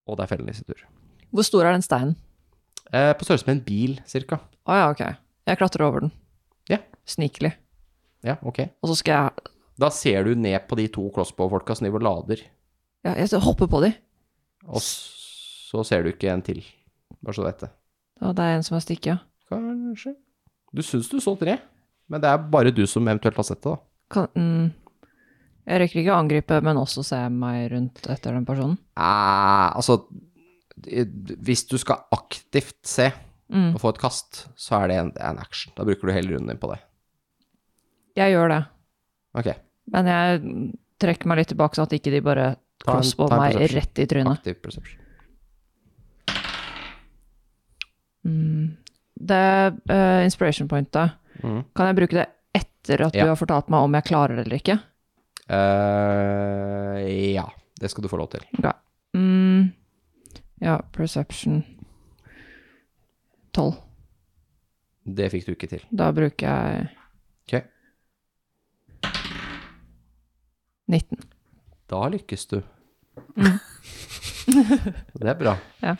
Speaker 3: og det er fellen i sin tur.
Speaker 6: Hvor stor er den steinen?
Speaker 3: Eh, på størrelse med en bil, cirka.
Speaker 6: Å ja, ok. Jeg klatrer over den.
Speaker 3: Ja.
Speaker 6: Snikelig.
Speaker 3: Ja, ok.
Speaker 6: Og så skal jeg
Speaker 3: Da ser du ned på de to crossbow-folka som driver og lader,
Speaker 6: ja, Jeg skal hoppe på de.
Speaker 3: og s- så ser du ikke en til. Bare så du vet det.
Speaker 6: Og det er en som har stikket. ja.
Speaker 3: Kanskje. Du syns du så tre, men det er bare du som eventuelt har sett det, da.
Speaker 6: Kan, mm, jeg rekker ikke å angripe, men også se meg rundt etter den personen.
Speaker 3: Eh, altså, d- d- hvis du skal aktivt se
Speaker 6: Mm.
Speaker 3: og få et kast, så er det en, det er en action. Da bruker du hele runden din på det.
Speaker 6: Jeg gjør det,
Speaker 3: Ok,
Speaker 6: men jeg trekker meg litt tilbake så at ikke de bare
Speaker 3: Ta en-
Speaker 6: crossbow
Speaker 3: ta en
Speaker 6: meg
Speaker 3: perception.
Speaker 6: rett i trynet.
Speaker 3: aktiv perception.
Speaker 6: Mm. Det eh, inspiration pointet,
Speaker 3: Mhm.
Speaker 6: kan jeg bruke det etter at
Speaker 3: Ja.
Speaker 6: du har fortalt meg om jeg klarer det eller ikke?
Speaker 3: Eh, ja, det skal du få lov til.
Speaker 6: Mm. Ja, perception 12.
Speaker 3: Det fikk du ikke til.
Speaker 6: Da bruker jeg
Speaker 3: Ok.
Speaker 6: 19.
Speaker 3: Da lykkes du. det er bra.
Speaker 6: Mm. Ja.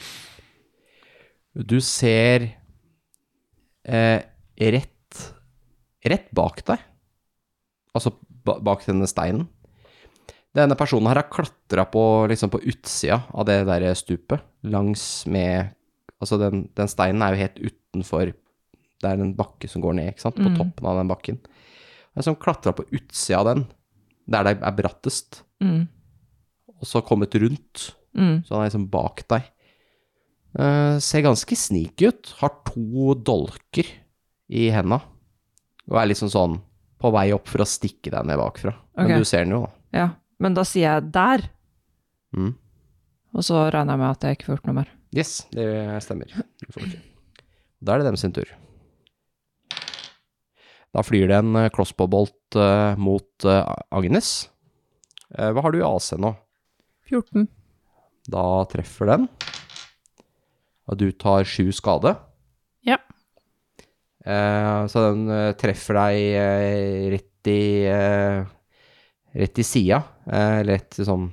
Speaker 3: Du ser eh, rett, rett bak deg, altså ba bak denne steinen. Denne personen her har klatra på, liksom på utsida av det der stupet, langs med Altså, den, den steinen er jo helt utenfor Det er en bakke som går ned, ikke sant? På
Speaker 6: Mm.
Speaker 3: toppen av den bakken. Det er som klatra på utsida av den, der det er brattest
Speaker 6: Mm.
Speaker 3: og så kommet rundt.
Speaker 6: Mm.
Speaker 3: Så han er liksom bak deg. Eh, ser ganske sneaky ut. Har to dolker i henda. Og er liksom sånn på vei opp for å stikke deg ned bakfra.
Speaker 6: Ok.
Speaker 3: Men du ser den jo, da.
Speaker 6: Ja, men da sier jeg der,
Speaker 3: Mm.
Speaker 6: og så regner jeg med at jeg ikke får gjort noe mer.
Speaker 3: Yes, det stemmer. Du får ikke. Da er det dem sin tur. Da flyr det en eh, crossbow-bolt eh, mot eh, Agnes. Eh, hva har du i AC nå?
Speaker 4: 14.
Speaker 3: Da treffer den. Og du tar sju skade.
Speaker 4: Ja.
Speaker 3: Eh, så den eh, treffer deg eh, rett i eh, Rett i sida. Eh, eller rett i sånn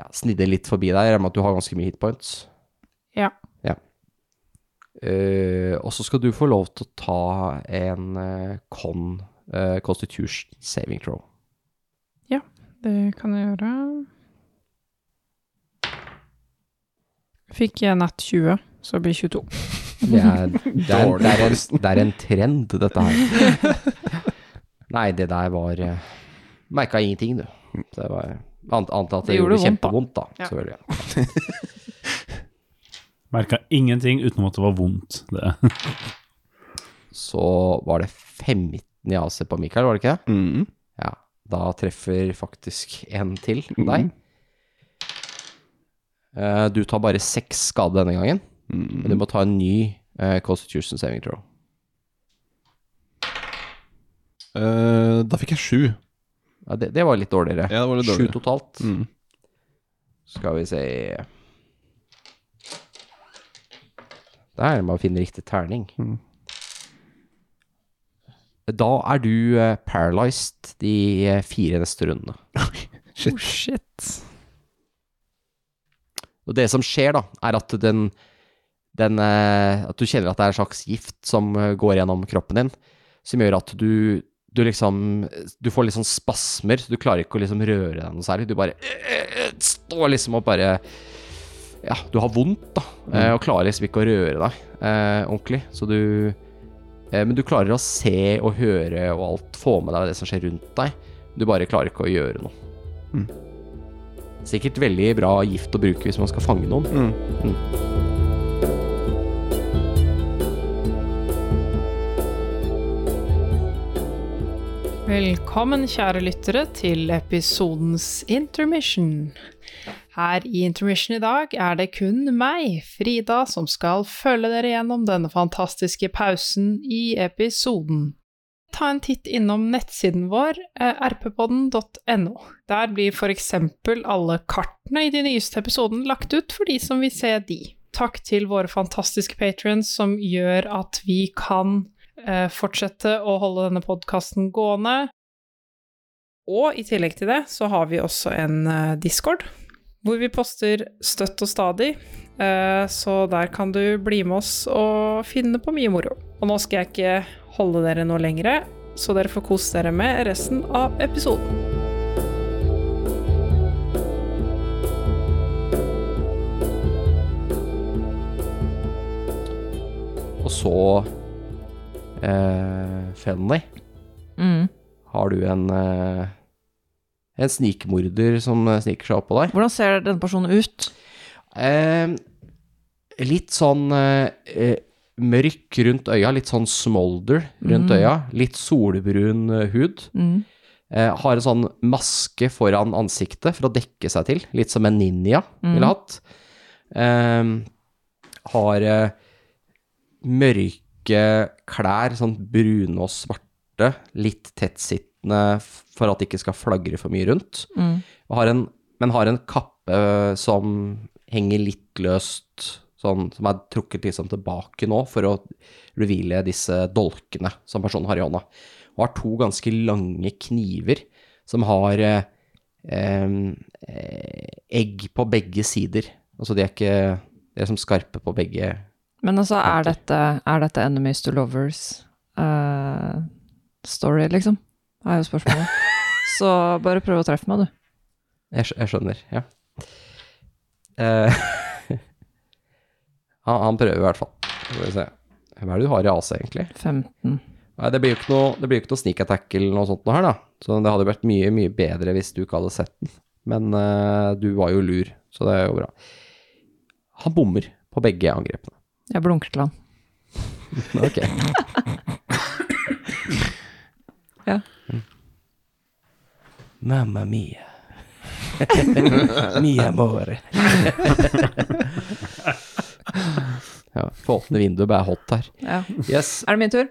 Speaker 3: ja, Snidde litt forbi deg. Jeg regner med at du har ganske mye hitpoints.
Speaker 4: Ja.
Speaker 3: ja. Eh, og så skal du få lov til å ta en eh, con eh, constitution saving throw.
Speaker 4: Det kan jeg gjøre. Fikk jeg natt 20, så blir 22.
Speaker 3: Det er, det er, det er, en, det er en trend, dette her. Nei, det der var Merka ingenting, du. Det var Annet annet at det,
Speaker 4: Det gjorde
Speaker 3: gjorde
Speaker 4: vondt,
Speaker 3: kjempevondt,
Speaker 4: da.
Speaker 3: da.
Speaker 4: Ja.
Speaker 3: Selvfølgelig.
Speaker 5: Merka ingenting utenom at det var vondt. Det.
Speaker 3: Så var det 15 i AC på Mikael, var det ikke det?
Speaker 2: Mm.
Speaker 3: Ja. Da treffer faktisk en til deg. Eh, Du tar bare seks skade denne gangen,
Speaker 2: Mm.
Speaker 3: men du må ta en ny eh, Constitution saving throw.
Speaker 2: Eh, da fikk jeg sju.
Speaker 3: Ja, det, det var litt dårligere.
Speaker 2: Ja, det var litt
Speaker 3: Sju
Speaker 2: dårligere.
Speaker 3: totalt.
Speaker 2: Mm.
Speaker 3: Skal vi se Der er det bare å finne riktig terning.
Speaker 2: Mm.
Speaker 3: Da er du eh, paralyzed de eh, fire neste rundene.
Speaker 4: Oh, shit.
Speaker 3: Og det som skjer, da, er at den, den eh, At du kjenner at det er en slags gift som eh, går gjennom kroppen din, som gjør at du du liksom Du får litt sånn spasmer, så du klarer ikke å liksom røre deg noe særlig. Du bare eh, eh, står liksom og bare Ja, du har vondt, da, eh, og klarer liksom ikke å røre deg eh, ordentlig. Så du eh, Men du klarer å se og høre og alt, få med deg det som skjer rundt deg. Du bare klarer ikke å gjøre noe. Sikkert veldig bra gift å bruke hvis man skal fange noen.
Speaker 4: Velkommen, kjære lyttere, til episodens intermission. Her i intermission i dag er det kun meg, Frida, som skal følge dere gjennom denne fantastiske pausen i episoden. Ta en titt innom nettsiden vår, eh, rppodden.no. Der blir for eksempel alle kartene i de nyeste episoden lagt ut for de som vil se de. Takk til våre fantastiske patrons som gjør at vi kan eh, fortsette å holde denne podkasten gående. Og i tillegg til det så har vi også en eh, Discord, hvor vi poster støtt og stadig. Eh, Så der kan du bli med oss og finne på mye moro. Og nå skal jeg ikke holde dere noe lengre. så dere får kose dere med resten av episoden.
Speaker 3: Og så eh, Fenny,
Speaker 6: Mm.
Speaker 3: har du en eh, en snikmorder som eh, sniker seg oppå deg?
Speaker 6: Hvordan ser denne personen ut?
Speaker 3: Eh, litt sånn eh, eh, mørk rundt øya, litt sånn smolder rundt
Speaker 6: Mm.
Speaker 3: øya. Litt solbrun eh, hud.
Speaker 6: Mm.
Speaker 3: Eh, har en sånn maske foran ansiktet for å dekke seg til, litt som en ninja ville hatt. Eh, har eh, mørke klær, sånn brune og svarte, litt tettsittende f- for at det ikke skal flagre for mye rundt.
Speaker 6: Mm.
Speaker 3: Og har en, men har en kappe eh, som henger litt løst, sånn, som er trukket liksom tilbake nå for å reveale disse dolkene som personen har i hånda. Og har to ganske lange kniver som har eh, em, eh, egg på begge sider. Altså de er ikke de er som skarpe på begge
Speaker 6: Men altså, er dette, er dette enemies to lovers eh, story, liksom? Det er jo spørsmålet. Så bare prøv å treffe meg, du.
Speaker 3: Jeg, skj- jeg skjønner, ja. Eh, han, han prøver i hvert fall. Skal vi se. Hva er det du har i AC, egentlig?
Speaker 6: 15.
Speaker 3: Nei, det blir jo ikke noe, det blir jo ikke noe sneak attack eller noe sånt noe her, da. Så det hadde vært mye, mye bedre hvis du ikke hadde sett den. Men eh, du var jo lur, så det er jo bra. Han bommer på begge angrepene.
Speaker 6: Jeg blunker til han.
Speaker 3: Ok.
Speaker 6: Ja.
Speaker 3: Mamma mia. mia amore. ja, få åpne vinduet, bare hot her.
Speaker 6: Ja.
Speaker 3: Yes.
Speaker 6: Er det min tur?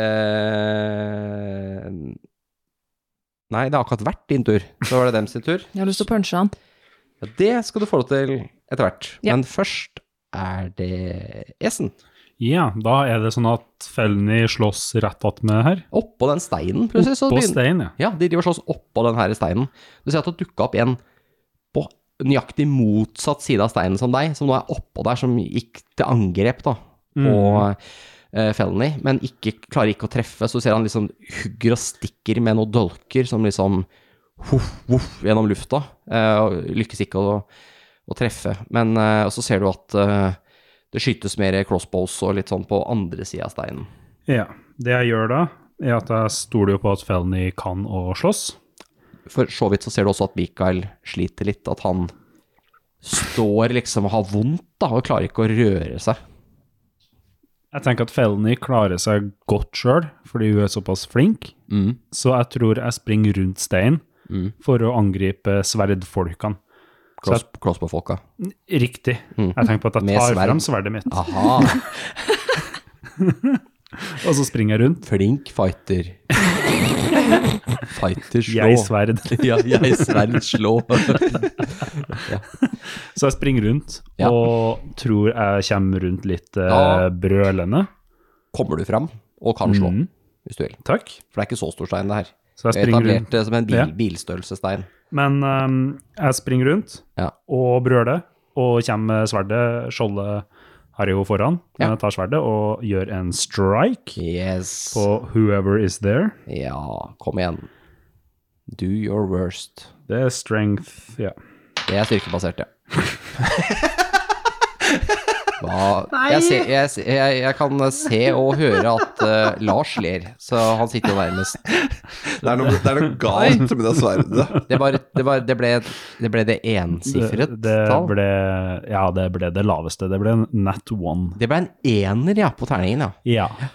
Speaker 3: Eh, nei, det har akkurat vært din tur. Så var det dem sin tur.
Speaker 6: Jeg har lyst til å punche han.
Speaker 3: Ja, det skal du få lov til etter hvert.
Speaker 6: Ja.
Speaker 3: Men først er det Esen.
Speaker 5: Ja, da er det sånn at Felny slåss rett attmed her.
Speaker 3: Oppå den steinen, plutselig. så
Speaker 5: Oppå
Speaker 3: begynner-
Speaker 5: stein, ja.
Speaker 3: Ja, de driver og slåss oppå den her steinen. Du ser at det dukka opp en på nøyaktig motsatt side av steinen som deg, som nå er oppå der, som gikk til angrep da, på
Speaker 5: Mm.
Speaker 3: eh, Felony, men ikke, klarer ikke å treffe. Så ser han liksom hugger og stikker med noen dolker som liksom voff, voff, gjennom lufta. eh, og lykkes ikke å, å treffe. Men eh, og så ser du at eh, det skytes mer crossbows og litt sånn på andre sida av steinen.
Speaker 5: ja. Det jeg gjør da, er at jeg stoler jo på at Felny kan å slåss.
Speaker 3: for så vidt så ser du også at Mikael sliter litt, at han står liksom og har vondt da, og klarer ikke å røre seg.
Speaker 5: Jeg tenker at Felny klarer seg godt sjøl, fordi hun er såpass flink. Så jeg tror jeg springer rundt steinen
Speaker 3: Mm.
Speaker 5: for å angripe sverdfolkene.
Speaker 3: Cross, crossbow-folka.
Speaker 5: Riktig.
Speaker 3: Mm.
Speaker 5: Jeg tenker på at
Speaker 3: Med
Speaker 5: jeg tar
Speaker 3: sverd.
Speaker 5: frem sverdet mitt,
Speaker 3: Aha,
Speaker 5: og så springer jeg rundt.
Speaker 3: flink fighter. Fighter slå.
Speaker 5: Jeg sverd.
Speaker 3: Ja, jeg sverd slå.
Speaker 5: Så jeg springer rundt,
Speaker 3: Ja.
Speaker 5: og tror jeg kommer rundt litt eh,
Speaker 3: Da-
Speaker 5: brølende.
Speaker 3: Kommer du fram og kan slå,
Speaker 5: Mhm.
Speaker 3: hvis du vil.
Speaker 5: Takk.
Speaker 3: For det er ikke så stor stein det her.
Speaker 5: Så jeg
Speaker 3: Jeg
Speaker 5: springer rundt.
Speaker 3: etablerte det som en bil,
Speaker 5: Ja.
Speaker 3: bilstørrelsestein.
Speaker 5: Men ehm, jeg springer rundt
Speaker 3: Ja.
Speaker 5: og brøler, og kommer med sverdet. Skjoldet har jeg jo foran.
Speaker 3: Ja.
Speaker 5: Men jeg tar sverdet og gjør en strike
Speaker 3: Yes.
Speaker 5: på whoever is there.
Speaker 3: Ja, kom igjen. Do your worst.
Speaker 5: Det er strength, ja.
Speaker 3: Det er styrkebasert, ja. Hva? Jeg, ser, jeg, ser- jeg, jeg kan se og høre at eh, Lars ler, så han sitter jo nærmest.
Speaker 2: Det er noe, det er noe galt med det sverdet.
Speaker 3: Det, var, det, var, det, ble, det ble det ensifret
Speaker 5: Det, det
Speaker 3: tall.
Speaker 5: ble, ja, det ble det laveste. Det ble en nat one.
Speaker 3: Det ble en ener, ja, på terningen, ja.
Speaker 5: Ja.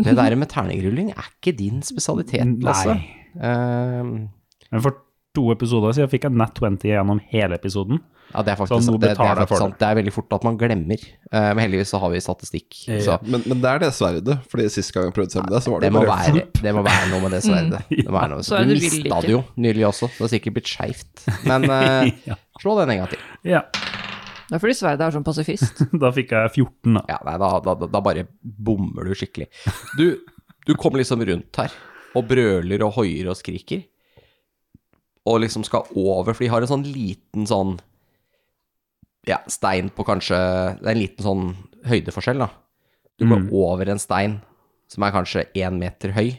Speaker 3: Det der med terningrulling er ikke din spesialitet, altså. Lasse.
Speaker 5: Nei.
Speaker 3: Eh,
Speaker 5: Men for to episoder siden fikk jeg nat 20 gjennom hele episoden.
Speaker 3: ja, det er faktisk,
Speaker 5: Så nå
Speaker 3: det, det, er
Speaker 5: betaler jeg Sånn for
Speaker 3: faktisk sant. Det er veldig fort at man glemmer. Eh, men heldigvis så har vi statistikk. Så
Speaker 2: Men, men det er det sverdet, fordi sist gang jeg prøvde selv det, så var
Speaker 3: det
Speaker 2: det,
Speaker 3: må,
Speaker 2: bare
Speaker 3: være, det må være noe med det sverdet. Det må være noe.
Speaker 6: Så er
Speaker 3: Du
Speaker 6: det du vil
Speaker 3: mista
Speaker 6: ikke.
Speaker 3: det jo nylig også, så det har sikkert blitt skeivt. Men eh, slå den en gang til.
Speaker 5: Ja,
Speaker 6: Det er fordi Sverdet er sånn pasifist.
Speaker 5: da fikk jeg 14, da.
Speaker 3: Ja, nei, da, da, da bare bommer du skikkelig. Du, du kommer liksom rundt her og brøler og hoier og skriker. Og liksom skal over, for de har en sånn liten sånn Ja, stein på kanskje Det er en liten sånn høydeforskjell, da. Du må
Speaker 5: Mm.
Speaker 3: over en stein som er kanskje én meter høy.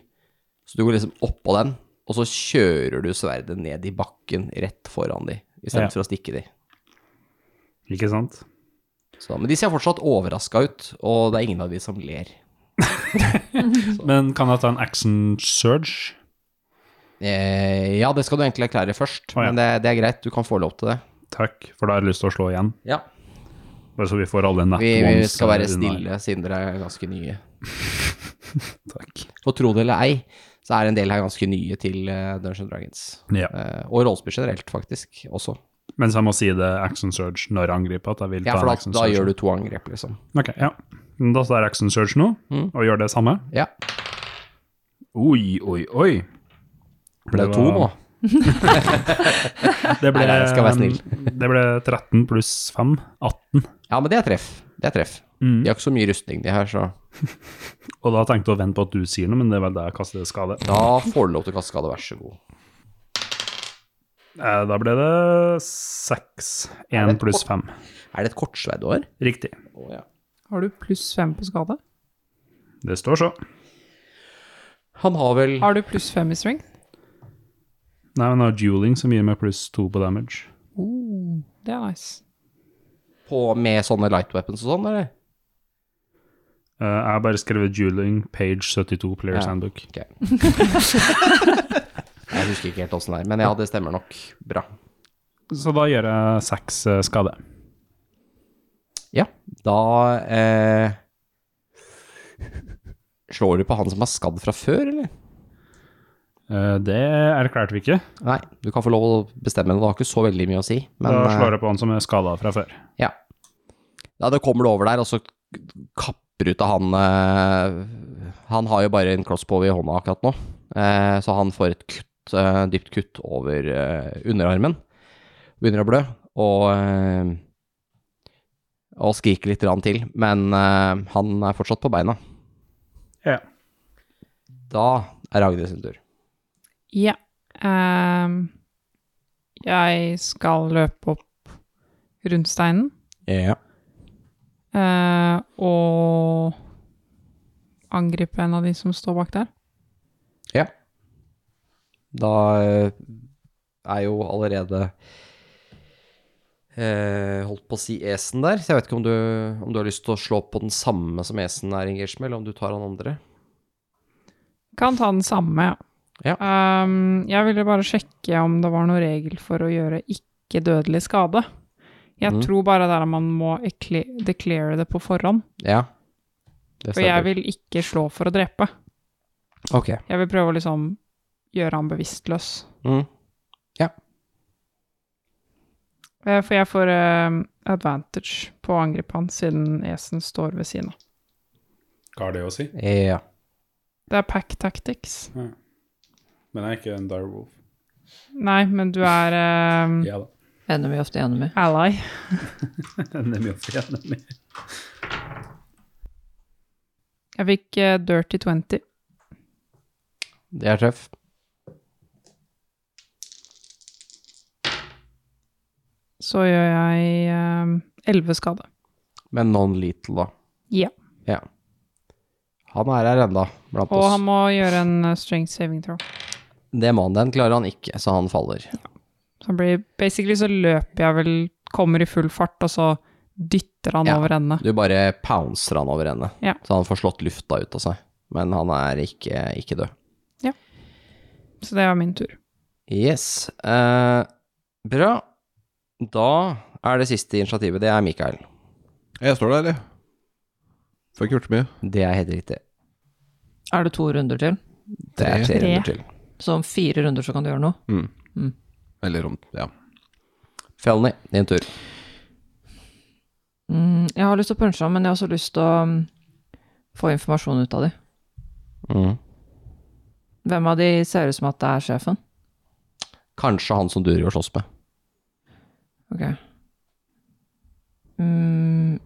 Speaker 3: Så du går liksom oppå den, og så kjører du sverdet ned i bakken rett foran de,
Speaker 5: Ja.
Speaker 3: istedenfor for å stikke de.
Speaker 5: Ikke sant?
Speaker 3: Så, men de ser fortsatt overraska ut, og det er ingen av de som ler.
Speaker 5: Men kan jeg ta en action surge?
Speaker 3: Eh, ja, det skal du egentlig erklære først,
Speaker 5: Å, ja.
Speaker 3: men det, det er greit, du kan få lov til det.
Speaker 5: Takk, for da har jeg lyst til å slå igjen.
Speaker 3: Ja,
Speaker 5: Bare så vi får alle nat
Speaker 3: Vi, vi
Speaker 5: ones,
Speaker 3: skal være
Speaker 5: eh, unna.
Speaker 3: stille, siden dere er ganske nye.
Speaker 5: Takk.
Speaker 3: Og tro det eller ei, så er en del her ganske nye til eh, Dungeons and Dragons.
Speaker 5: Ja.
Speaker 3: Eh, og rollespill generelt, faktisk, også.
Speaker 5: Mens jeg må si det action surge når jeg angriper. At jeg vil ta
Speaker 3: Ja, for
Speaker 5: en
Speaker 3: da,
Speaker 5: action
Speaker 3: da
Speaker 5: surge.
Speaker 3: gjør du Mm. to angrep, liksom.
Speaker 5: Ok, ja. Men Da tar jeg action surge nå, og gjør det samme.
Speaker 3: Ja.
Speaker 5: Oi, oi, oi.
Speaker 3: Ble det to nå?
Speaker 5: var- Det ble,
Speaker 3: Nei, nei, jeg skal være snill.
Speaker 5: det ble 13 pluss 5, 18.
Speaker 3: Ja, men det er treff. Det er treff.
Speaker 5: Mm.
Speaker 3: De har ikke så mye rustning, de her, så
Speaker 5: Og da tenkte jeg å vente på at du sier noe, men det er vel da jeg kaster skade.
Speaker 3: da får du lov til å kaste skade, vær så god.
Speaker 5: Eh, Da ble det 6. 1 pluss 5.
Speaker 3: Er det et kortsverd du har?
Speaker 5: Riktig.
Speaker 3: Å ja.
Speaker 4: Har du pluss fem på skade?
Speaker 5: Det står så.
Speaker 3: Han har vel
Speaker 4: Har du pluss fem i strength?
Speaker 5: Nei, men jeg har dueling som gir meg pluss 2 på damage.
Speaker 4: Oh, det er nice.
Speaker 3: på med sånne light weapons og sånn, eller?
Speaker 5: Eh, Jeg har bare skrevet dueling, page 72, players
Speaker 3: Ja.
Speaker 5: handbook.
Speaker 3: Ok. jeg husker ikke helt åssen det er, men ja, det stemmer nok. Bra.
Speaker 5: Så da gjør jeg 6 skade.
Speaker 3: Ja, da eh, Slår du på han som er skadd fra før, eller?
Speaker 5: Eh, Det erklærte vi ikke.
Speaker 3: Nei, du kan få lov å bestemme det, det har ikke så veldig mye å si. Men
Speaker 5: da
Speaker 3: eh,
Speaker 5: slår jeg på han som er skada fra før.
Speaker 3: ja. ja, da kommer du over der, og så kapper ut av han eh, Han har jo bare en crossbow i hånda akkurat nå, eh, så han får et kutt, eh, dypt kutt over eh, underarmen. Begynner å blø, og eh, og skriker litt rann til, men eh, han er fortsatt på beina.
Speaker 5: Ja.
Speaker 3: Da er Agnes sin tur.
Speaker 4: Ja. ehm, jeg skal løpe opp rundsteinen.
Speaker 3: Ja.
Speaker 4: eh, og angripe en av de som står bak der.
Speaker 3: Ja. Da eh, er jo allerede eh, holdt på å si Esen der, så jeg vet ikke om du, om du har lyst til å slå på den samme som Esen er engagert med, eller om du tar han andre.
Speaker 4: Kan ta den samme, ja.
Speaker 3: Ja.
Speaker 4: Ehm, jeg ville bare sjekke om det var noen regel for å gjøre ikke-dødelig skade. Jeg
Speaker 3: Mhm.
Speaker 4: tror bare der man må ekle- declare det på forhånd.
Speaker 3: Ja. Det
Speaker 4: For jeg vil ikke slå for å drepe.
Speaker 3: Ok.
Speaker 4: Jeg vil prøve å liksom gjøre han bevisstløs.
Speaker 3: Mm.
Speaker 4: Eh, For jeg får eh, advantage på å angripe han, siden Esen står ved siden av.
Speaker 5: Hva har det å si?
Speaker 3: Ja.
Speaker 4: Det er pack tactics.
Speaker 5: Men jeg er ikke en direwolf.
Speaker 4: Nei, men du er eh,
Speaker 5: Ja da.
Speaker 6: Enemy of the enemy.
Speaker 4: ally.
Speaker 5: Det er mye å si. det er mye.
Speaker 4: Jeg fikk eh, dirty 20.
Speaker 3: Det er treff.
Speaker 4: Så gjør jeg eh, 11 skade.
Speaker 3: Men non-lethal, da.
Speaker 4: Ja.
Speaker 3: Ja. Han er her enda, blant
Speaker 4: Og
Speaker 3: oss.
Speaker 4: han må gjøre en eh, strength saving throw.
Speaker 3: Det mannen den klarer han ikke, så han faller.
Speaker 4: Så han blir, basically så løper jeg vel, kommer i full fart, og så dytter han
Speaker 3: Ja.
Speaker 4: over ende.
Speaker 3: Du bare pouncer han over ende,
Speaker 4: Ja.
Speaker 3: så han får slått lufta ut av seg. Men han er ikke, ikke død.
Speaker 4: Så det var min tur.
Speaker 3: Yes. eh, bra. Da er det siste initiativet. Det er Mikael.
Speaker 2: Jeg står der, jeg. Får ikke gjort så mye.
Speaker 3: Det er helt riktig.
Speaker 6: Er det to runder til?
Speaker 3: Det er tre
Speaker 4: Tre.
Speaker 3: runder til.
Speaker 6: Så om fire runder så kan du gjøre noe?
Speaker 2: Eller om Ja.
Speaker 3: Felny, din tur.
Speaker 6: Mm, jeg har lyst til å punche ham, men jeg har også lyst til å mm, få informasjon ut av dem.
Speaker 3: Mm.
Speaker 6: Hvem av de ser ut som at det er sjefen?
Speaker 3: Kanskje han som du driver og slåss med.
Speaker 6: Ok. Mm,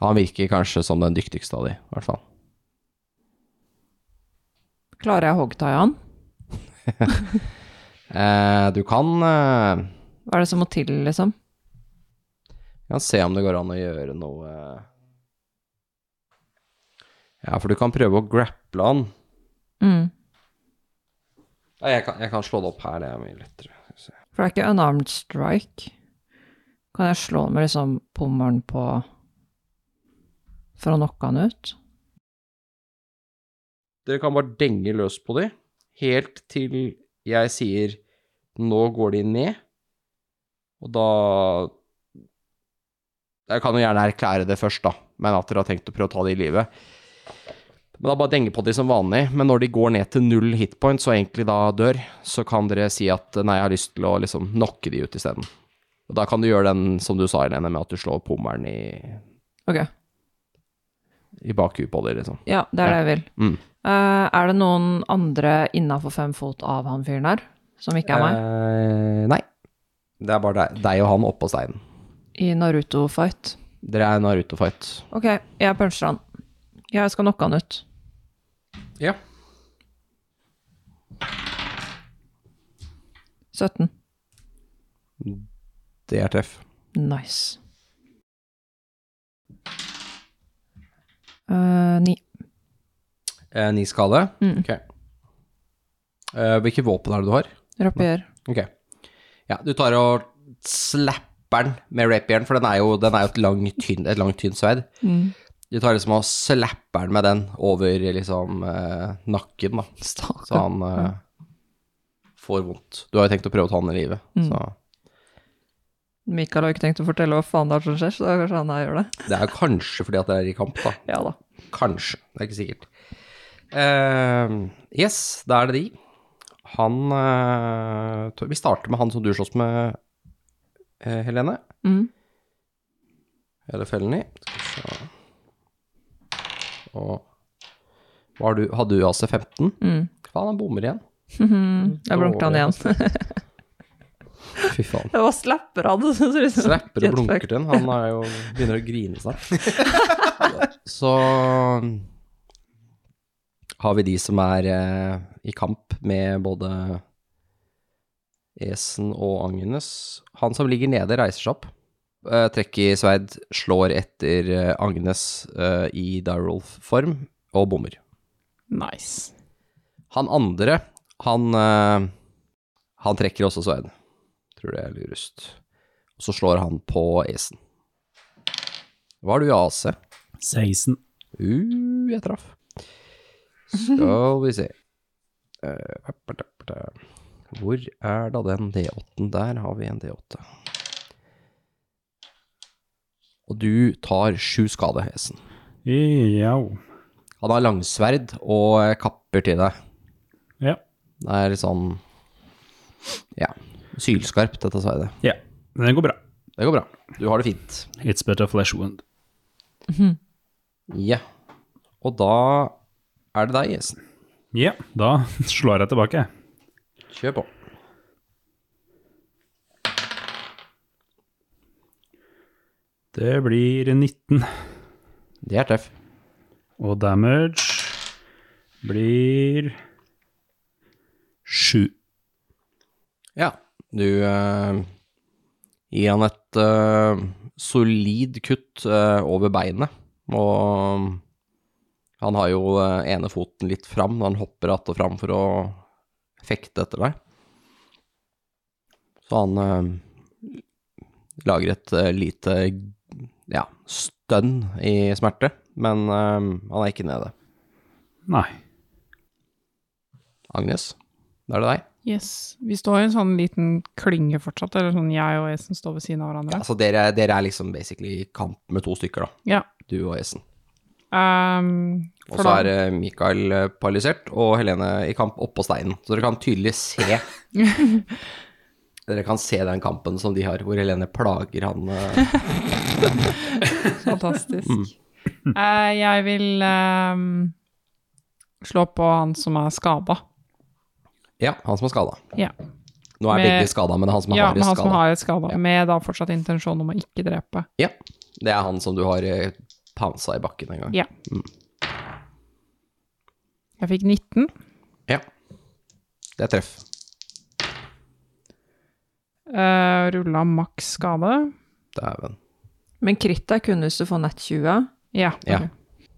Speaker 3: Han virker kanskje som den dyktigste av de, i hvert fall.
Speaker 6: klarer jeg å hoggtie han?
Speaker 3: Eh, du kan, eh,
Speaker 6: Hva er det som må til, liksom?
Speaker 3: kan se om det går an å gjøre noe eh, Ja, for du kan prøve å grapple han.
Speaker 6: Mm.
Speaker 3: Nei, jeg kan, jeg kan slå det opp her, det er mye lettere. Skal vi se.
Speaker 6: For det er ikke unarmed strike. Kan jeg slå med liksom pommelen på for å knocke han ut?
Speaker 3: Dere kan bare denge løs på de, helt til jeg sier nå går de ned, og da Jeg kan jo gjerne erklære det først, da, men at dere har tenkt å prøve å ta det i live. Men da bare denge på de som vanlig, men når de går ned til null hitpoints og egentlig da dør, så kan dere si at nei, jeg har lyst til å liksom knocke de ut isteden. Og da kan du gjøre den som du sa, Helene, med at du slår pommelen i,
Speaker 6: Ok.
Speaker 3: i bakhuet på dem, liksom.
Speaker 6: Ja, det er det jeg vil.
Speaker 3: Mm.
Speaker 6: Eh, er det noen andre innafor fem fot av han fyren her, som ikke er meg?
Speaker 3: Eh, nei. Det er bare deg, deg og han oppå steinen.
Speaker 6: I Naruto-fight?
Speaker 3: Dere er Naruto-fight.
Speaker 6: Ok, jeg puncher han. Jeg skal knocke han ut.
Speaker 3: Ja.
Speaker 6: 17.
Speaker 3: Det er treff.
Speaker 6: Nice. Eh, ni.
Speaker 3: Eh, ni skade.
Speaker 6: Mm.
Speaker 3: Ok. Eh, hvilke våpen er det du har?
Speaker 6: Rapier.
Speaker 3: Ok. Ja, du tar og slapper den med rapieren, for den er jo, den er jo et langt, tynn, et langt, tynt sverd.
Speaker 6: Mm.
Speaker 3: Du tar liksom og slapper den med den over liksom eh, nakken, da. Så
Speaker 6: Stakkar.
Speaker 3: han eh, får vondt. Du har jo tenkt å prøve å ta han i livet,
Speaker 6: Mm.
Speaker 3: så
Speaker 6: Mikael har ikke tenkt å fortelle hva faen det er som skjer, så da kanskje han her gjør det.
Speaker 3: Det er jo kanskje fordi at det er i kamp, da.
Speaker 6: Ja da.
Speaker 3: Kanskje, det er ikke sikkert. Eh, yes, da er det de. Han eh, tror- Vi starter med han som du slåss med, eh, Helene.
Speaker 6: Mm.
Speaker 3: Eller fellen i. Skal vi se. Og var du, Hadde du AC 15?
Speaker 6: Mm.
Speaker 3: Faen, han bommer igjen.
Speaker 6: Mhm. Jeg blunket han igjen.
Speaker 3: Fy faen.
Speaker 6: Det var slapper han, det ser ut som.
Speaker 3: Slapper og blunker
Speaker 6: Kjempefakt.
Speaker 3: til han. Han er jo, begynner å grine snart. Så har vi de som er eh, i kamp med både Esen og Agnes. Han som ligger nede, reiser seg opp. Eh, trekker sverd, slår etter eh, Agnes eh, i Dyrolf-form, og bommer.
Speaker 4: Nice.
Speaker 3: Han andre, han eh, Han trekker også sverd. Tror det er lurest. Og så slår han på acen. Hva har du i AC?
Speaker 5: 16.
Speaker 3: Uh, jeg traff. Skal vi se Eh, appertapperta. Hvor er da den D8-en? Der har vi en D8. Og du tar sju skade, Hesen.
Speaker 5: Jau.
Speaker 3: Han har langsverd og eh, kapper til deg.
Speaker 5: Ja.
Speaker 3: Det er litt sånn Ja. Sylskarpt, dette sverdet.
Speaker 5: Ja. Den går bra.
Speaker 3: Det går bra. Du har det fint.
Speaker 5: It's better flesh wound.
Speaker 3: Ja. Og da er det deg, Jesen.
Speaker 5: Ja, da slår jeg tilbake.
Speaker 3: Kjør på.
Speaker 5: Det blir 19.
Speaker 3: Det er treff.
Speaker 5: Og damage blir 7.
Speaker 3: Ja. Du eh, gir han et eh, solid kutt eh, over beinet, og eh, han har jo eh, ene foten litt fram når han hopper att og fram for å fekte etter deg. Så han eh, lager et eh, lite ja, stønn i smerte, men eh, han er ikke nede.
Speaker 5: Nei.
Speaker 3: Agnes, da er det deg.
Speaker 4: Yes. Vi står i en sånn liten klynge fortsatt, eller sånn jeg og Esen står ved siden av hverandre.
Speaker 3: Altså, dere, dere er liksom basically i kamp med to stykker, da.
Speaker 4: Ja.
Speaker 3: Du og Esen.
Speaker 4: Ehm,
Speaker 3: Og så
Speaker 4: for da-
Speaker 3: er eh, Mikael eh, paralysert og Helene i kamp oppå steinen. Så dere kan tydelig se Dere kan se den kampen som de har, hvor Helene plager han eh,
Speaker 4: Fantastisk.
Speaker 3: Mm.
Speaker 4: Eh, jeg vil ehm, slå på han som er skada.
Speaker 3: Ja, han som er skada.
Speaker 4: Ja.
Speaker 3: Nå er
Speaker 4: Med-
Speaker 3: begge skada, men han som er
Speaker 4: ja, med
Speaker 3: hardest
Speaker 4: han som
Speaker 3: skada.
Speaker 4: har et skada. Med da fortsatt intensjon om å ikke drepe.
Speaker 3: Ja, det er han som du har eh, pounsa i bakken en gang.
Speaker 4: Ja. Jeg fikk 19.
Speaker 3: Ja. Det er treff.
Speaker 4: Uh, Rulla maks skade.
Speaker 3: Dæven.
Speaker 6: Men kritt er kun hvis du får nett 20.
Speaker 4: Ja.
Speaker 3: Ja.
Speaker 4: ok.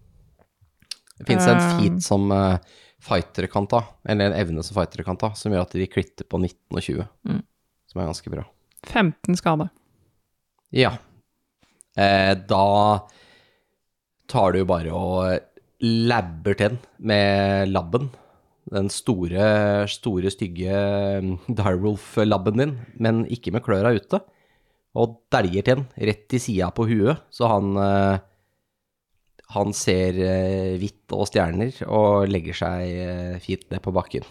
Speaker 3: Det finnes en
Speaker 4: Um.
Speaker 3: feat som eh, fightere kan ta, eller en evne som fightere kan ta, som gjør at de klitter på 19 og 20,
Speaker 6: Mm.
Speaker 3: som er ganske bra.
Speaker 4: 15 skade.
Speaker 3: Ja. Eh, da tar du jo bare og labber til den med labben. Den store, store, stygge mm, Direwolf-labben din, men ikke med kløra ute. Og dæljer til den rett i sida på huet, så han eh, Han ser eh, hvitt og stjerner og legger seg eh, fint ned på bakken.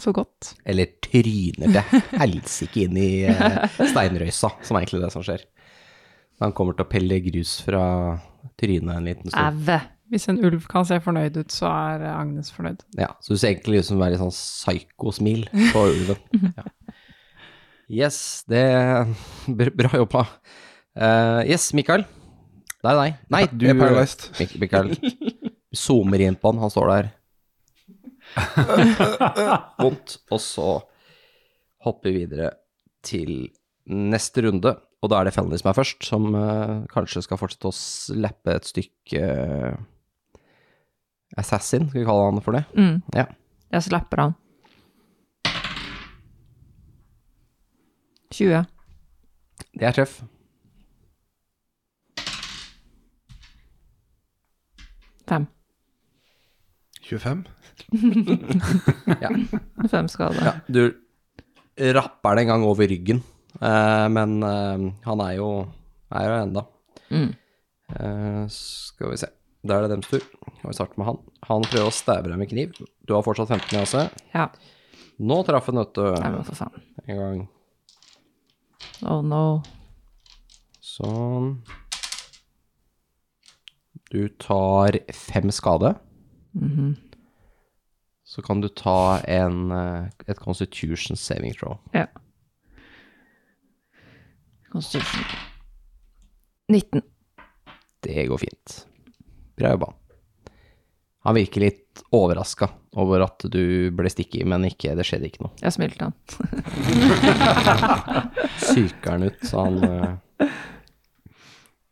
Speaker 4: Så godt.
Speaker 3: Eller tryner til helsike inn i eh, steinrøysa, som er egentlig det som skjer. Han kommer til å pelle grus fra trynet en liten stund.
Speaker 6: Æve.
Speaker 4: Hvis en ulv kan se fornøyd ut, så er eh, Agnes fornøyd.
Speaker 3: Ja, så du ser egentlig ut som å være i sånn psykosmil på ulven. Ja. Yes, det br- Bra jobba. Eh, yes, Mikael. Det er deg. Nei, du
Speaker 2: Jeg er paralyzed.
Speaker 3: Mik Mikael zoomer inn på han, han står der. Vondt. Og så hopper vi videre til neste runde. Og da er det Fenley som er først, som eh, kanskje skal fortsette å slappe et stykke eh, Assassin, skal vi kalle han for det.
Speaker 6: Mm.
Speaker 3: Ja.
Speaker 6: Jeg slapper han. 20.
Speaker 3: Det er treff.
Speaker 6: 5.
Speaker 2: 25?
Speaker 6: 5 skade.
Speaker 3: Ja, du rapper det en gang over ryggen, eh, men eh, han er jo er jo enda.
Speaker 6: Mm.
Speaker 3: Eh, skal vi se. Da er det dems tur. Og vi starter med han. Han prøver å stabbe deg med kniv. Du har fortsatt 15 i AC.
Speaker 6: Ja.
Speaker 3: Nå traff han, vet du.
Speaker 6: Nei, men for faen.
Speaker 3: En gang
Speaker 6: Oh no.
Speaker 3: sånn. Du tar fem skade.
Speaker 6: Mhm.
Speaker 3: Så kan du ta en, eh, et constitution saving throw.
Speaker 6: Ja. Konstitusjon. 19.
Speaker 3: Det går fint. Bra jobba. Han virker litt overraska over at du ble stikket i, men ikke, det skjedde ikke noe.
Speaker 6: Jeg smilte han.
Speaker 3: Syker han ut, så han eh,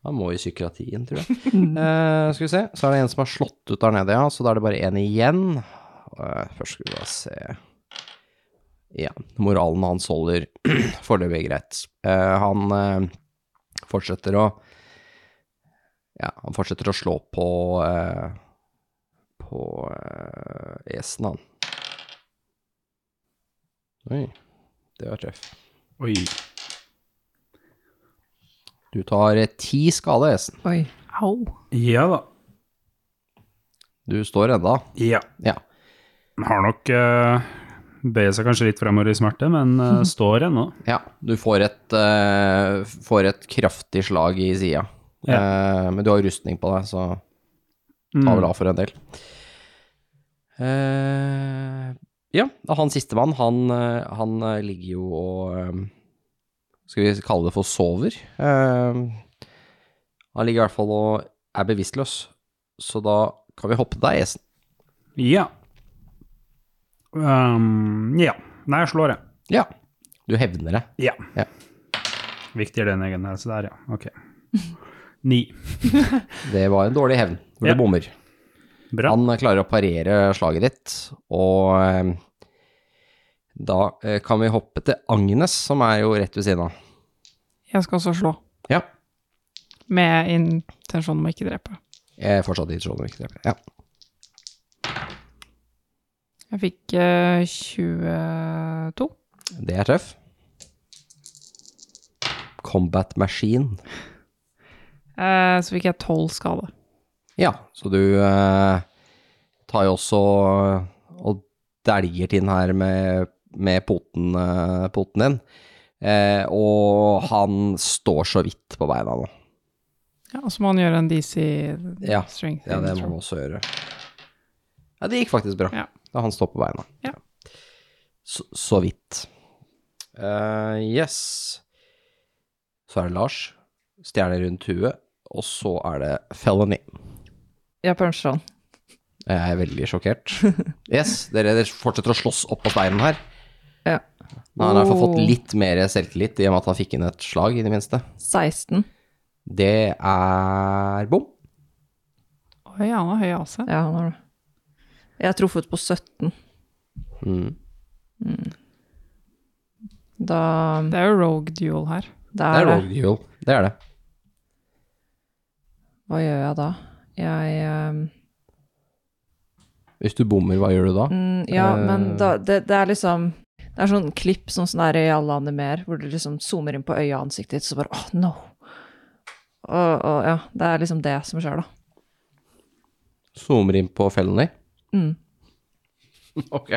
Speaker 3: Han må i psykiatrien, tror jeg. Eh, skal vi se, så er det en som har slått ut der nede, ja. Så da er det bare én igjen. Eh, først skal vi bare se Ja, moralen hans holder foreløpig greit. Eh, han eh, fortsetter å Ja, han fortsetter å slå på eh, på eh, esen, han. Oi, det var treff.
Speaker 1: Oi.
Speaker 3: Du tar eh, ti skade, Esen.
Speaker 6: Oi.
Speaker 4: Au.
Speaker 5: Ja da.
Speaker 3: Du står enda.
Speaker 5: Ja.
Speaker 3: Ja.
Speaker 5: Han har nok uh, bøyer seg kanskje litt fremover i smerte, men eh, står ennå.
Speaker 3: Ja, du får et, eh, får et kraftig slag i sida. Eh, men du har rustning på deg, så
Speaker 5: Mm.
Speaker 3: ta vel av for en del. Eh, ja, og han sistemann, han, eh, han eh, ligger jo og eh, Skal vi kalle det for sover? Eh, han ligger i hvert fall og er bevisstløs, så da kan vi hoppe til deg, Esen.
Speaker 5: Ja. Ehm, ja. Nei, jeg slår, jeg.
Speaker 3: Ja. Du hevner det.
Speaker 5: Ja.
Speaker 3: Ja.
Speaker 5: Viktigere enn egen helse der, ja. Ok. Ni.
Speaker 3: Det var en dårlig hevn, for
Speaker 5: Ja.
Speaker 3: du bommer.
Speaker 5: Bra.
Speaker 3: Han klarer å parere slaget ditt, og eh, da eh, kan vi hoppe til Agnes, som er jo rett ved siden av.
Speaker 4: Jeg skal også slå.
Speaker 3: Ja.
Speaker 4: Med intensjon om å ikke drepe.
Speaker 3: Jeg er fortsatt i tråden. ikke det? Ja.
Speaker 4: Jeg fikk eh, 22.
Speaker 3: Det er treff. Combat Machine.
Speaker 4: Eh, så fikk jeg 12 skade.
Speaker 3: Ja, så du eh, tar jo også eh, og deljer til den her med, med poten, eh, poten din. Eh, og han står så vidt på beina nå.
Speaker 4: Ja, og så må han gjøre en DC
Speaker 3: Ja.
Speaker 4: string.
Speaker 3: Ja, det må man også gjøre. Ja, det gikk faktisk bra.
Speaker 4: Ja.
Speaker 3: Da han står på beina.
Speaker 4: Ja.
Speaker 3: Så, så vidt. Eh, yes. Så er det Lars. Stjerne rundt huet. Og så er det Felony.
Speaker 6: Jeg puncher han.
Speaker 3: Jeg er veldig sjokkert. Yes, dere, dere fortsetter å slåss oppå steinen her.
Speaker 6: Ja.
Speaker 3: Men han har fått- fått
Speaker 6: Oh.
Speaker 3: litt mer selvtillit i og med at han fikk inn et slag, i det minste.
Speaker 6: 16.
Speaker 3: Det er bom.
Speaker 4: Høy han har høy AC.
Speaker 6: Ja, han har det. Jeg er truffet på 17.
Speaker 3: Mm.
Speaker 6: Da,
Speaker 4: Det er jo rogue duel her.
Speaker 6: da
Speaker 3: Det
Speaker 6: er
Speaker 3: er
Speaker 6: det.
Speaker 3: rogue duel. Det er det.
Speaker 6: Hva gjør jeg da? Jeg ehm,
Speaker 3: Hvis du bommer, hva gjør du da?
Speaker 6: Mm, ja, men
Speaker 3: Eh.
Speaker 6: da, det, det er liksom Det er sånn klipp sånn som det er i alle animer, hvor du liksom zoomer inn på øyet og ansiktet ditt, så bare åh, no. Og, og ja, det er liksom det som skjer, da.
Speaker 3: Zoomer inn på felony.
Speaker 6: Mm,
Speaker 3: Ok.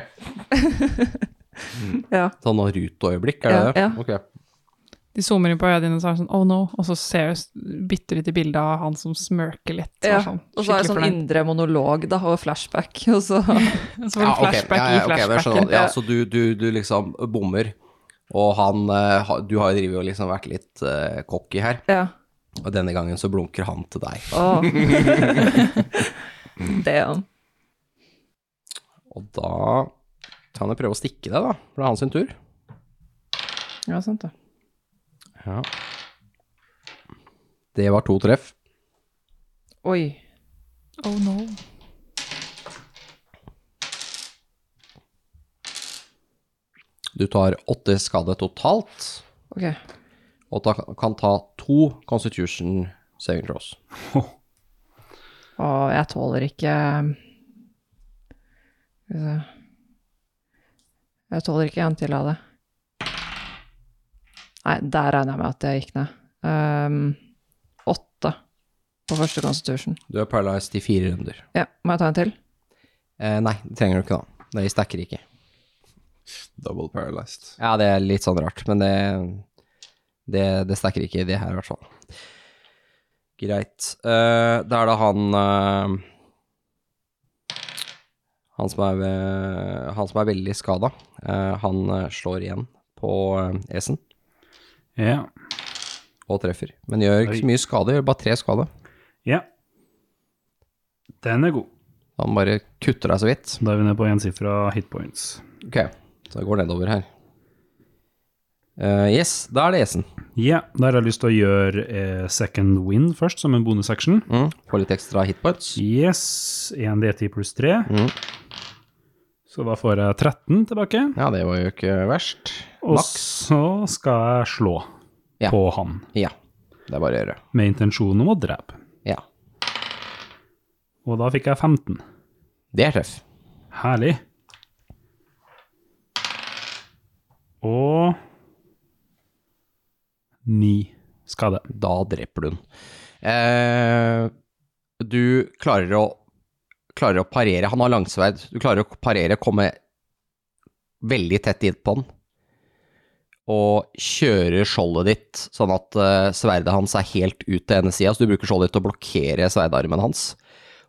Speaker 6: ja.
Speaker 3: Sånn Naruto-øyeblikk, er det det?
Speaker 6: Ja,
Speaker 3: Ok.
Speaker 4: De zoomer inn på øya dine og så er det sånn oh no, og så ser, bytter de til bildet av han som smirker litt. Og,
Speaker 6: ja.
Speaker 4: sånn,
Speaker 6: Og så er det
Speaker 4: skikkelig
Speaker 6: sånn
Speaker 4: fornøyd.
Speaker 6: indre monolog, da, og flashback, og så
Speaker 4: Og så får du
Speaker 3: ok,
Speaker 4: flashback
Speaker 3: ja, ja,
Speaker 4: i
Speaker 3: ok, men jeg
Speaker 4: flashbacken.
Speaker 3: skjønner. Sånn, Ja, så du, du, du liksom bommer, og han eh, ha- Du har jo drevet og liksom vært litt eh, cocky her,
Speaker 6: Ja.
Speaker 3: og denne gangen så blunker han til deg.
Speaker 6: Åh. Damn.
Speaker 3: Og da kan jeg prøve å stikke deg, da. For det er hans sin tur.
Speaker 6: Ja, sant det.
Speaker 3: Ja. Det var to treff.
Speaker 6: Oi.
Speaker 4: Oh no.
Speaker 3: Du tar åtte skade totalt,
Speaker 6: Ok.
Speaker 3: og ta, kan ta to Constitution saving throws.
Speaker 6: Og jeg tåler ikke Skal vi se Jeg tåler ikke en til av det. Nei, der regner jeg med at jeg gikk ned. Ehm, åtte på første Constitution.
Speaker 3: Du er paralyzed i fire runder.
Speaker 6: Ja, må jeg ta en til?
Speaker 3: Eh, nei, det trenger du ikke, da. Det stacker ikke.
Speaker 2: Double paralyzed.
Speaker 3: Ja, det er litt sånn rart, men det Det, det stacker ikke i det her, i hvert fall. Greit. Eh, da er det han eh, Han som er, eh, han som er veldig skada. han eh, slår igjen på eh, S-en
Speaker 5: Ja.
Speaker 3: og treffer. Men gjør ikke
Speaker 5: Oi.
Speaker 3: så mye skade, gjør bare tre skade.
Speaker 5: ja. Den er god.
Speaker 3: Han bare kutter deg så vidt.
Speaker 5: Da er vi nede på ensifra hitpoints.
Speaker 3: Ok, så det går nedover her. Eh, yes, da er det S-en.
Speaker 5: Ja, der har jeg lyst til å gjøre eh, second win først, som en bonusaction.
Speaker 3: Mm. Får litt ekstra hitpoints.
Speaker 5: Yes, 1D10 pluss 3.
Speaker 3: Mhm.
Speaker 5: Så da får jeg 13 tilbake.
Speaker 3: Ja, det var jo ikke verst.
Speaker 5: Og
Speaker 3: Maks.
Speaker 5: så skal jeg slå
Speaker 3: Ja.
Speaker 5: på han,
Speaker 3: Ja, det er bare å gjøre.
Speaker 5: med intensjon om å drepe.
Speaker 3: Ja.
Speaker 5: Og da fikk jeg 15.
Speaker 3: Det er treff.
Speaker 5: Herlig. Og 9 skade.
Speaker 3: Da dreper du den. Eh, du klarer å, klarer å parere. Han har langsverd. Du klarer å parere, komme veldig tett innpå han. Og kjører skjoldet ditt, sånn at eh, sverdet hans er helt ut til ene sida. Så du bruker skjoldet ditt til å blokkere sverdarmen hans.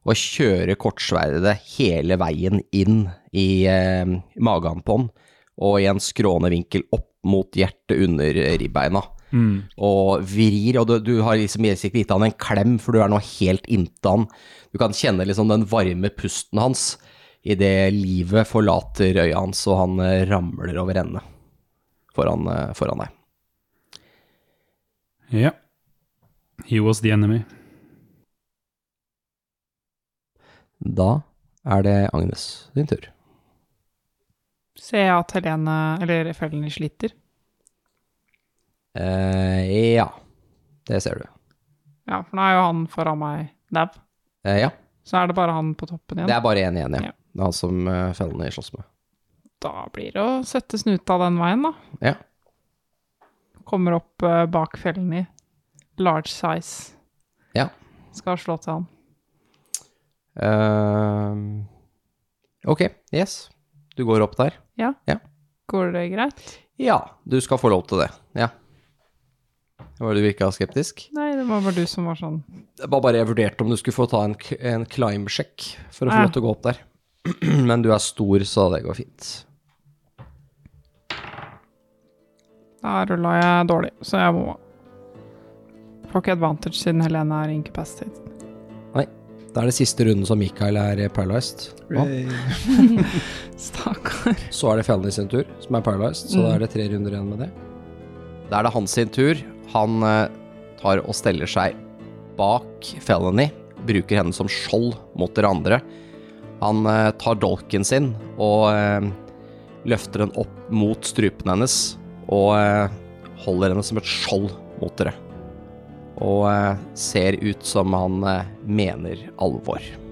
Speaker 3: Og kjører kortsverdet hele veien inn i eh, magen på han. Og i en skrånende vinkel opp mot hjertet under ribbeina
Speaker 5: Mm.
Speaker 3: og vrir, og du, du har liksom i sikt gitt han en klem, for du er nå helt inntil han. Du kan kjenne liksom den varme pusten hans idet livet forlater øya hans, og han eh, ramler over ende foran, eh, foran deg.
Speaker 5: Ja. He was the enemy.
Speaker 3: Da er det Agnes din tur.
Speaker 4: Ser jeg at Helene, eller Felny, sliter?
Speaker 3: Eh, ja, det ser du.
Speaker 4: Ja, for nå er jo han foran meg dau.
Speaker 3: Eh, ja,
Speaker 4: Så er det bare han på toppen
Speaker 3: det
Speaker 4: igjen.
Speaker 3: er bare én igjen,
Speaker 4: Ja.
Speaker 3: ja. Det er han som eh, fellene slåss med.
Speaker 4: Da blir det å sette snuta den veien, da.
Speaker 3: Ja.
Speaker 4: Kommer opp eh, bak Felny. Large size.
Speaker 3: Ja.
Speaker 4: Skal slå til han.
Speaker 3: Eh, ok, yes. Du går opp der.
Speaker 4: Går det greit?
Speaker 3: Ja, du skal få lov til det. Ja. Var det du virka skeptisk?
Speaker 4: Nei, det var bare du som var sånn.
Speaker 3: Det var bare jeg vurderte om du skulle få ta en, k- en climb-sjekk for å få
Speaker 4: Ja.
Speaker 3: lov til å gå opp der. Men du er stor, så det går fint.
Speaker 4: Da rulla jeg dårlig, så jeg må Får ikke advantage siden Helene er incapacitated.
Speaker 3: Nei. Da er det siste runden som Mikael er eh, paralyzed.
Speaker 4: Stakkar.
Speaker 3: Så er det Felny sin tur, som er paralyzed, så da er det tre runder igjen med det. Da er det hans sin tur. Han eh, tar og steller seg bak Felony, bruker henne som skjold mot dere andre. Han eh, tar dolken sin og eh, løfter den opp mot strupen hennes og eh, holder henne som et skjold mot dere. Og eh, ser ut som han eh, mener alvor.